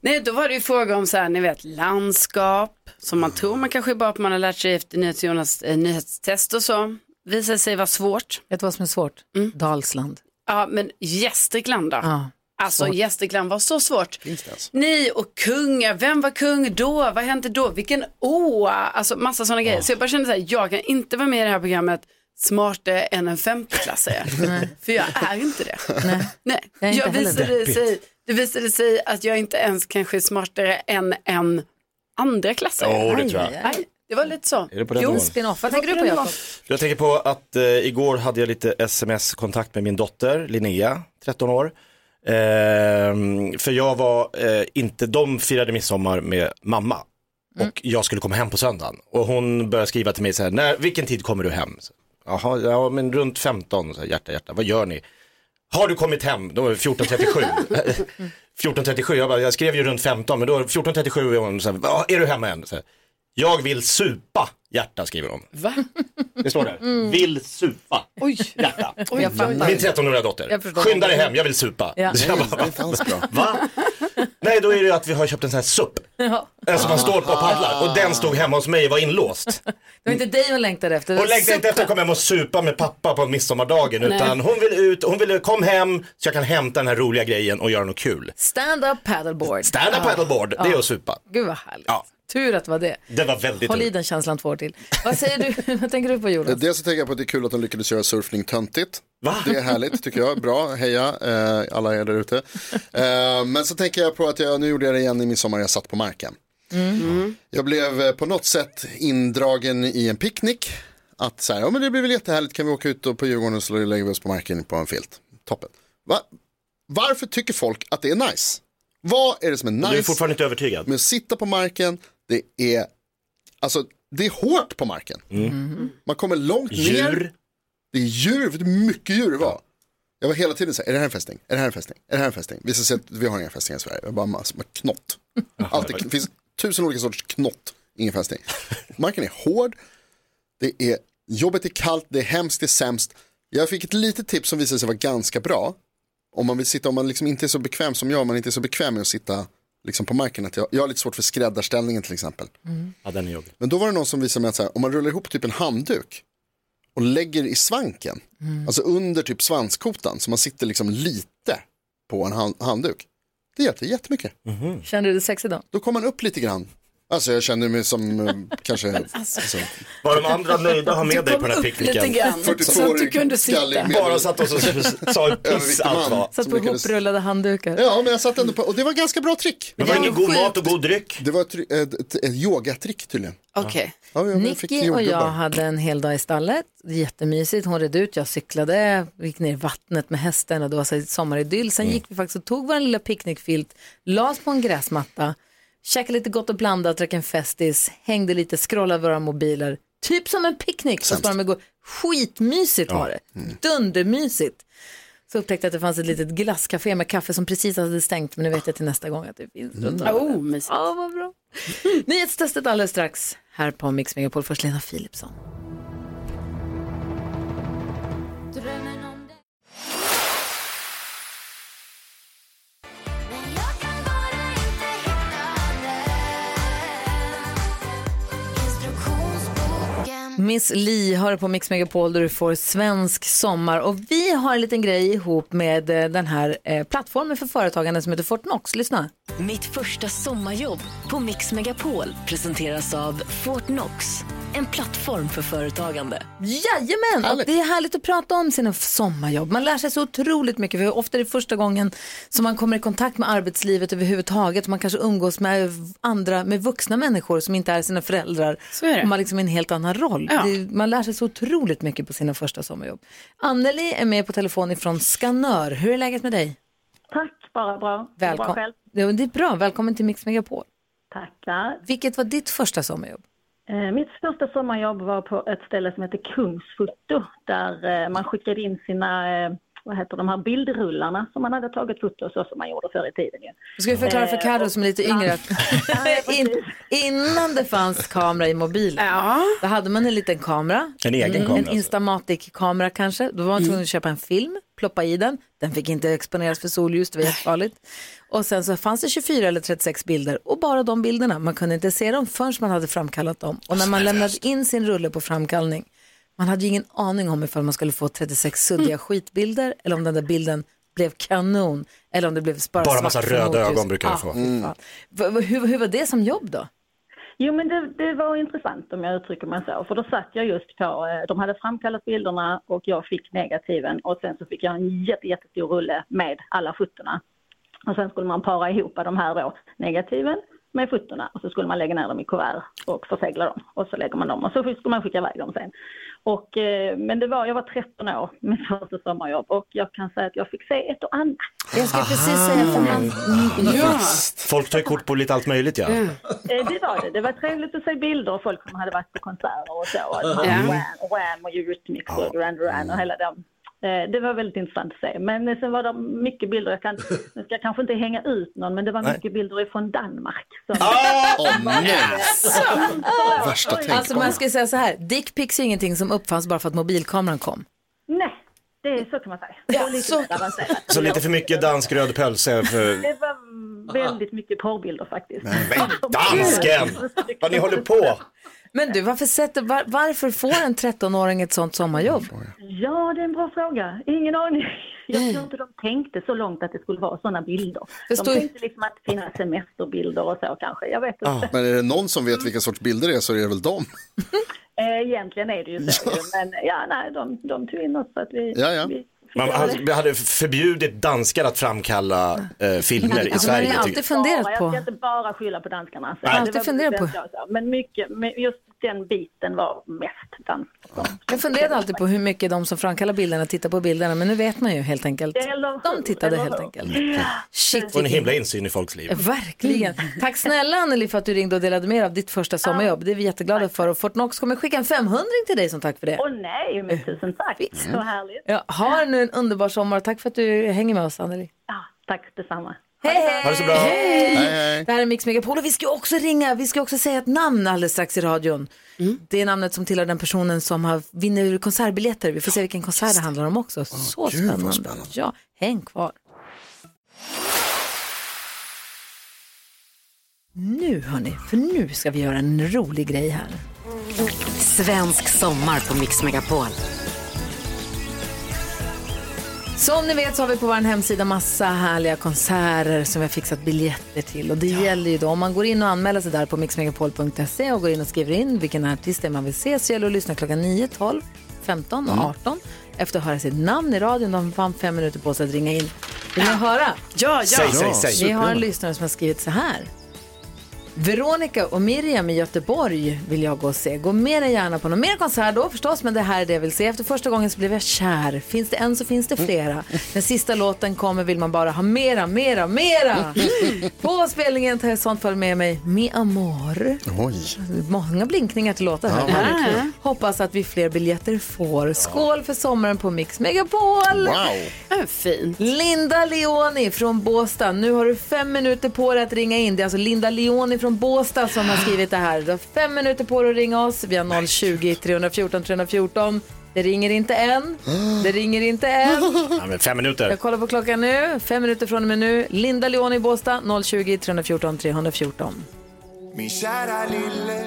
Speaker 2: Nej, då var det ju fråga om så här, ni vet, landskap, som man tror man kanske bara att man har lärt sig efter NyhetsJonas eh, nyhetstest och så. Visade sig vara svårt.
Speaker 6: Vet du vad som är svårt?
Speaker 2: Mm.
Speaker 6: Dalsland.
Speaker 2: Ja, men Gästrikland då?
Speaker 6: Ja,
Speaker 2: alltså
Speaker 6: svårt. alltså?
Speaker 2: Gästrikland var så svårt. Ni och kungar, vem var kung då? Vad hände då? Vilken å? Alltså massa sådana grejer. Så jag bara kände så här, jag kan inte vara med i det här programmet smartare än en femteklassare. För jag är inte det.
Speaker 6: Nej.
Speaker 2: Nej.
Speaker 6: Jag är inte
Speaker 2: jag
Speaker 6: heller
Speaker 2: visade
Speaker 6: det.
Speaker 2: sig, det visade sig att jag inte ens kanske är smartare än en andra klassare.
Speaker 3: Jo, det tror jag.
Speaker 2: Nej, det var lite så.
Speaker 3: Är det på den
Speaker 2: jo,
Speaker 3: nivån?
Speaker 6: spin-off. Vad tänker du på Jakob?
Speaker 3: Jag tänker på att eh, igår hade jag lite sms-kontakt med min dotter Linnea, 13 år. Ehm, för jag var eh, inte, de firade midsommar med mamma och jag skulle komma hem på söndagen. Och hon började skriva till mig så här, när, vilken tid kommer du hem? Så, Jaha, ja men runt 15, så här, hjärta hjärta, vad gör ni? Har du kommit hem? Då var det 14.37. 14.37, jag, bara, jag skrev ju runt 15, men då 14.37 är hon så här, "Ja, är du hemma än? Så här, jag vill supa, hjärta skriver hon.
Speaker 2: Va?
Speaker 3: Det står där. Vill supa.
Speaker 2: Mm. Oj.
Speaker 3: Hjärta.
Speaker 2: Oj, jag fattar.
Speaker 3: Min 13-åriga dotter.
Speaker 2: Jag förstår.
Speaker 3: Skynda dig hem, jag vill supa.
Speaker 2: Ja.
Speaker 3: Så jag bara, Va? Nej, då är det ju att vi har köpt en sån här SUP.
Speaker 6: Ja.
Speaker 3: En som man står på och paddlar. Och den stod hemma hos mig och var inlåst.
Speaker 6: Det var inte dig hon längtade efter.
Speaker 3: Hon längtade inte efter att komma hem och supa med pappa på midsommardagen. Utan hon ville ut, hon ville kom hem så jag kan hämta den här roliga grejen och göra något kul.
Speaker 6: Stand up paddleboard.
Speaker 3: Stand up
Speaker 6: Ja.
Speaker 3: paddleboard, det är att supa.
Speaker 6: Gud vad härligt.
Speaker 3: Ja.
Speaker 6: Tur att det var det.
Speaker 3: Det var väldigt
Speaker 6: Håll i
Speaker 3: roligt.
Speaker 6: den känslan två år till. Vad säger du? Vad tänker du på Jonas?
Speaker 4: Dels så tänker jag på att det är kul att de lyckades göra surfning töntigt. Det är härligt tycker jag, bra, heja eh, alla er där ute. Eh, men så tänker jag på att jag, nu gjorde jag det igen i midsommar, jag satt på marken.
Speaker 12: Mm.
Speaker 4: Jag blev eh, på något sätt indragen i en picknick. Att så här, ja men det blir väl jättehärligt, kan vi åka ut och på Djurgården och så lägger vi oss på marken på en filt. Toppen. Va? Varför tycker folk att det är nice? Vad är det som är nice?
Speaker 3: Du är fortfarande inte övertygad.
Speaker 4: Men att sitta på marken, det är, alltså, det är hårt på marken. Mm. Man kommer långt ner.
Speaker 3: Djur.
Speaker 4: Det är djur, det är mycket djur det var. Jag var hela tiden så här, är det här en fästing? Är det här en fästing? Är det här en fästing? Visar sig att vi har inga fästingar i Sverige, det är bara massor med knott. Allt det finns tusen olika sorters knott, ingen fästing. Marken är hård, det är, jobbet är kallt, det är hemskt, det är sämst. Jag fick ett litet tips som visade sig vara ganska bra. Om man vill sitta, om man liksom inte är så bekväm som jag, om man inte är så bekväm med att sitta liksom på marken. Att jag, jag har lite svårt för skräddarställningen till exempel.
Speaker 3: Ja, den är jobbig.
Speaker 4: Men då var det någon som visade mig att så här, om man rullar ihop typ en handduk och lägger i svanken,
Speaker 6: Mm.
Speaker 4: alltså under typ svanskotan, så man sitter liksom lite på en hand, handduk. Det hjälpte jättemycket.
Speaker 6: Kände du dig sexig då?
Speaker 4: Då kom man upp lite grann. Alltså jag kände mig som eh, kanske alltså,
Speaker 3: Var de andra nöjda att ha med dig på den här picknicken?
Speaker 4: 42-årig skallig medel-
Speaker 3: Bara satt och så, sa hur piss
Speaker 4: Överviktig man.
Speaker 3: allt var.
Speaker 6: Satt
Speaker 4: som
Speaker 6: på
Speaker 4: lyckades-
Speaker 6: ihoprullade handdukar.
Speaker 4: Ja, men jag satt ändå på, och det var ganska bra trick.
Speaker 3: Det var ingen god mat och god dryck.
Speaker 4: Det var ett, ett, ett, ett yogatrick tydligen.
Speaker 2: Okej.
Speaker 4: Ja, jag fick
Speaker 6: Nicky och jag
Speaker 4: jordgubbar.
Speaker 6: hade en hel dag i stallet. Jättemysigt. Hon redde ut, jag cyklade, gick ner i vattnet med hästen och det var så här sommaridyll. Sen
Speaker 4: Mm.
Speaker 6: gick vi faktiskt och tog vår lilla picknickfilt, las på en gräsmatta, käkade lite gott och blandat, drack en festis, hängde lite, scrollade våra mobiler. Typ som en picknick, fast bara med gå. Skitmysigt var det.
Speaker 4: Mm.
Speaker 6: Dundermysigt. Så upptäckte jag att det fanns ett litet glasscafé med kaffe som precis hade stängt, men nu vet jag till nästa gång att det finns. runt
Speaker 4: Mm.
Speaker 6: om.
Speaker 2: Oh, mysigt.
Speaker 6: Ja, vad bra. Nyhetstestet alldeles strax här på Mix Megapol. Först Lena Philipsson. Miss Li hör på Mix Megapol där du får svensk sommar. Och vi har en liten grej ihop med eh, den här eh, plattformen för företagande som heter Fortnox. Lyssna.
Speaker 16: Mitt första sommarjobb på Mix Megapol presenteras av Fortnox. En plattform för företagande.
Speaker 6: Jajamän, och det är härligt att prata om sina f- sommarjobb. Man lär sig så otroligt mycket. För ofta är det första gången som man kommer i kontakt med arbetslivet överhuvudtaget. Man kanske umgås med andra, med vuxna människor som inte är sina föräldrar.
Speaker 2: Så är det.
Speaker 6: Och man liksom är i en helt annan roll.
Speaker 2: Ja.
Speaker 6: Det, man lär sig så otroligt mycket på sina första sommarjobb. Anneli är med på telefon ifrån Skanör. Hur är läget med dig?
Speaker 17: Tack, bara bra. Bara
Speaker 6: Välkommen.
Speaker 17: själv.
Speaker 6: Det är bra, välkommen till Mix Megapol.
Speaker 17: Tackar.
Speaker 6: Vilket var ditt första sommarjobb?
Speaker 17: Eh, Mitt första sommarjobb var på ett ställe som heter Kungsfoto där eh, man skickade in sina, eh, vad heter de här bildrullarna som man hade tagit foto så som man gjorde förr i tiden. ju.
Speaker 6: Ska vi förklara för
Speaker 17: Eh,
Speaker 6: Carro som är lite yngre att in, innan det fanns kamera i mobilen, då hade man en liten kamera. Mm.
Speaker 3: En egen kamera,
Speaker 6: En
Speaker 3: alltså.
Speaker 6: Instamatic-kamera kanske. Då var man tvungen att köpa en film, ploppa i den. Den fick inte exponeras för solljus, det var jättefarligt. Och sen så fanns det 24 eller 36 bilder och bara de bilderna. Man kunde inte se dem förrän man hade framkallat dem. Och när
Speaker 3: Alltså,
Speaker 6: man lämnade in sin rulle på framkallning, man hade ju ingen aning om ifall man skulle få 36 suddiga skitbilder eller om den där bilden blev kanon eller om det blev bara,
Speaker 3: Bara
Speaker 6: svart
Speaker 3: massa
Speaker 6: från
Speaker 3: röda
Speaker 6: motljus.
Speaker 3: ögon brukar det
Speaker 6: Ah,
Speaker 3: få.
Speaker 6: fy fan. V- v- Hur, hur var det som jobb då?
Speaker 17: Jo, men det, det var intressant om jag uttrycker mig så. För då satt jag just på, eh, de hade framkallat bilderna och jag fick negativen och sen så fick jag en jätte, jättestor rulle med alla fotona. Och sen skulle man para ihop de här då, negativen med fotona och så skulle man lägga ner dem i kuvert och försegla dem och så lägger man dem och så skulle man skicka iväg dem sen. Och, eh, men det var, jag var 13 år, mitt första sommarjobb och jag kan säga att jag fick se ett och annat.
Speaker 6: Jag ska precis säga för man...
Speaker 17: Ja.
Speaker 3: Mm. Folk tar ju kort på lite allt möjligt ja.
Speaker 6: Mm.
Speaker 17: Eh, Det var det. Det var trevligt att se bilder och folk som hade varit på konserter och så. Och de här
Speaker 3: Mm.
Speaker 17: Wham, och Wham och Eurythmics och Duran Duran och hela dem. Eh, Det var väldigt intressant att se. Men eh, sen var det mycket bilder. Jag kan, nu ska jag kanske inte hänga ut någon, men det var
Speaker 3: Nej.
Speaker 17: mycket bilder från Danmark. Som...
Speaker 3: Ah!
Speaker 4: Åh nej! Värsta tänkbara.
Speaker 6: Alltså man ska säga så här, dickpics är ingenting som uppfanns bara för att mobilkameran kom.
Speaker 17: Nej, det är så kan man säga. Det var lite så... avancerat.
Speaker 3: Så lite för mycket dansk röd pölse för
Speaker 17: Det var väldigt mycket porrbilder faktiskt.
Speaker 3: dansken. Vad ni håller på.
Speaker 6: Men du, varför, sätter, var, varför får en 13-åring ett sånt sommarjobb?
Speaker 17: Ja, det är en bra fråga. Ingen aning. Jag tror inte de tänkte så långt att det skulle vara sådana bilder.
Speaker 6: Det
Speaker 17: De
Speaker 6: står ju-
Speaker 17: tänkte liksom att det finns semesterbilder och så kanske. Jag vet inte.
Speaker 4: Ja, Men är det någon som vet vilka sorts bilder det är så är det väl dem.
Speaker 17: Eh, Egentligen är det ju så. ju. Men ja, nej, de, de tog in oss så att vi...
Speaker 4: Ja, ja.
Speaker 17: vi
Speaker 3: Man hade- hade förbjudit danskar att framkalla eh, filmer i
Speaker 6: Alltså, man har
Speaker 3: Sverige.
Speaker 6: ju
Speaker 3: tycker
Speaker 6: alltid
Speaker 3: jag.
Speaker 6: funderat
Speaker 17: bara, jag
Speaker 6: på.
Speaker 17: ska inte bara skylla på danskarna.
Speaker 3: Nej.
Speaker 6: Alltid
Speaker 17: Det var
Speaker 6: funderat på.
Speaker 17: svenskar också. Men mycket, men just den biten var mest dansk.
Speaker 6: Jag funderade alltid på hur mycket de som framkallar bilderna tittar på bilderna, men nu vet man ju helt enkelt. De tittade helt enkelt. Shit,
Speaker 3: Och en
Speaker 6: vilken
Speaker 3: himla insyn i folks liv.
Speaker 6: Verkligen. Tack snälla Anneli för att du ringde och delade med dig av ditt första sommarjobb. Det är vi jätteglada för. Och Fortnox kommer skicka en 500 till dig som tack för det.
Speaker 17: Åh nej, men
Speaker 6: Eh.
Speaker 17: tusen tack. Så härligt.
Speaker 6: Ja, ha nu en underbar sommar. Tack för att du hänger med oss Anneli.
Speaker 17: Tack detsamma.
Speaker 6: Hej,
Speaker 3: Ha det så bra.
Speaker 6: Hej!
Speaker 3: Hej, hej.
Speaker 6: Det här är Mix Megapol och vi ska ju också ringa, vi ska också säga ett namn alldeles strax i radion.
Speaker 4: Mm.
Speaker 6: Det är namnet som tillhör den personen som har, vinner konsertbiljetter. Vi får se vilken konsert det handlar om också.
Speaker 4: gud,
Speaker 6: Så
Speaker 4: vad
Speaker 6: spännande.
Speaker 4: spännande.
Speaker 6: Ja, häng kvar. Nu hörni, för nu ska vi göra en rolig grej här.
Speaker 18: Svensk sommar på Mix Megapol.
Speaker 6: Som ni vet så har vi på vår hemsida massa härliga konserter som vi har fixat biljetter till. Och det gäller ju då, om man går in och anmäler sig där på mixmegapol.se och går in och skriver in vilken artist det är man vill se så gäller det att lyssna klockan 9, 12, 15 och 18 efter att höra sitt namn i radion. De har fan fem minuter på sig att ringa in. Vill ni höra?
Speaker 2: Ja, ja.
Speaker 3: Säg, säg, säg.
Speaker 6: Vi har en lyssnare som har skrivit så här. Veronica och Miriam i Göteborg vill jag gå och se. Gå med dig gärna på någon mer konsert då förstås, men det här är det jag vill se. Efter första gången så blev jag kär. Finns det en så finns det flera. När sista låten kommer vill man bara ha mera, mera, mera. På spelningen tar jag i sånt fall med mig Mi Amor.
Speaker 4: Oj.
Speaker 6: Många blinkningar till låtar här.
Speaker 4: Ja, verkligen.
Speaker 6: Hoppas att vi fler biljetter får. Skål för sommaren på Mix Megapol!
Speaker 4: Wow.
Speaker 6: Fint. Linda Leoni från Båstad. Nu har du fem minuter på dig att ringa in. Det är alltså Linda Leoni från Båstad som har skrivit det här. Du har fem minuter på dig att ringa oss. Vi har 020 314 314. Det ringer inte än. Det ringer inte än.
Speaker 3: Ja, men fem minuter.
Speaker 6: Jag kollar på klockan nu. Fem minuter från och med nu. Linda Leoni i Båstad 020 314 314.
Speaker 19: Min kära lille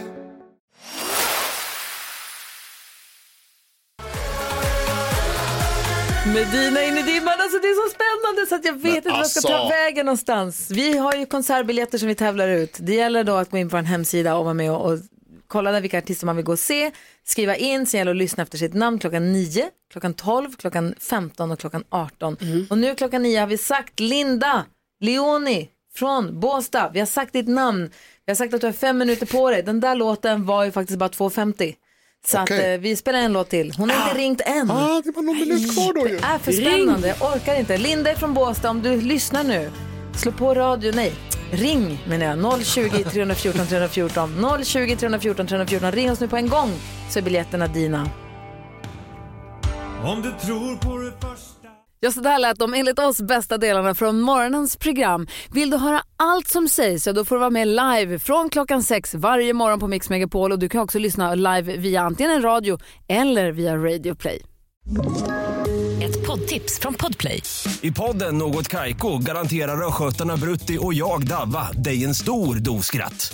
Speaker 6: Medina in i dimman, alltså det är så spännande så att jag vet inte
Speaker 20: Men
Speaker 6: vart jag ska
Speaker 20: alltså.
Speaker 6: ta vägen någonstans. Vi har ju konsertbiljetter som vi tävlar ut. Det gäller då att gå in på en hemsida och vara med och, och kolla där vilka artister man vill gå och se, skriva in, sen gäller det att lyssna efter sitt namn klockan 9, klockan 12, klockan 15 och klockan 18.
Speaker 4: Mm.
Speaker 6: Och nu klockan 9 har vi sagt Linda Leoni från Båstad, vi har sagt ditt namn, vi har sagt att du har fem minuter på dig. Den där låten var ju faktiskt bara 2.50. Så att,
Speaker 4: Okej.
Speaker 6: eh, vi spelar en låt till. Hon har inte ringt än.
Speaker 4: Ah, det var någon minut kvar då ju.
Speaker 6: Det är för spännande, jag orkar inte. Linda är från Båstad, om du lyssnar nu, slå på radio, nej, Ring menar jag, 020 314 314. 020 314 314. Ring oss nu på en gång så är biljetterna dina.
Speaker 19: Om du tror på det första
Speaker 6: Ja, så där lät de enligt oss bästa delarna från morgonens program. Vill du höra allt som sägs så då får du vara med live från klockan sex varje morgon på Mix Megapol och du kan också lyssna live via antingen en radio eller via Radio Play.
Speaker 16: Ett poddtips från Podplay.
Speaker 21: I podden Något Kaiko garanterar östgötarna Brutti och jag, Davva, dig en stor dos skratt.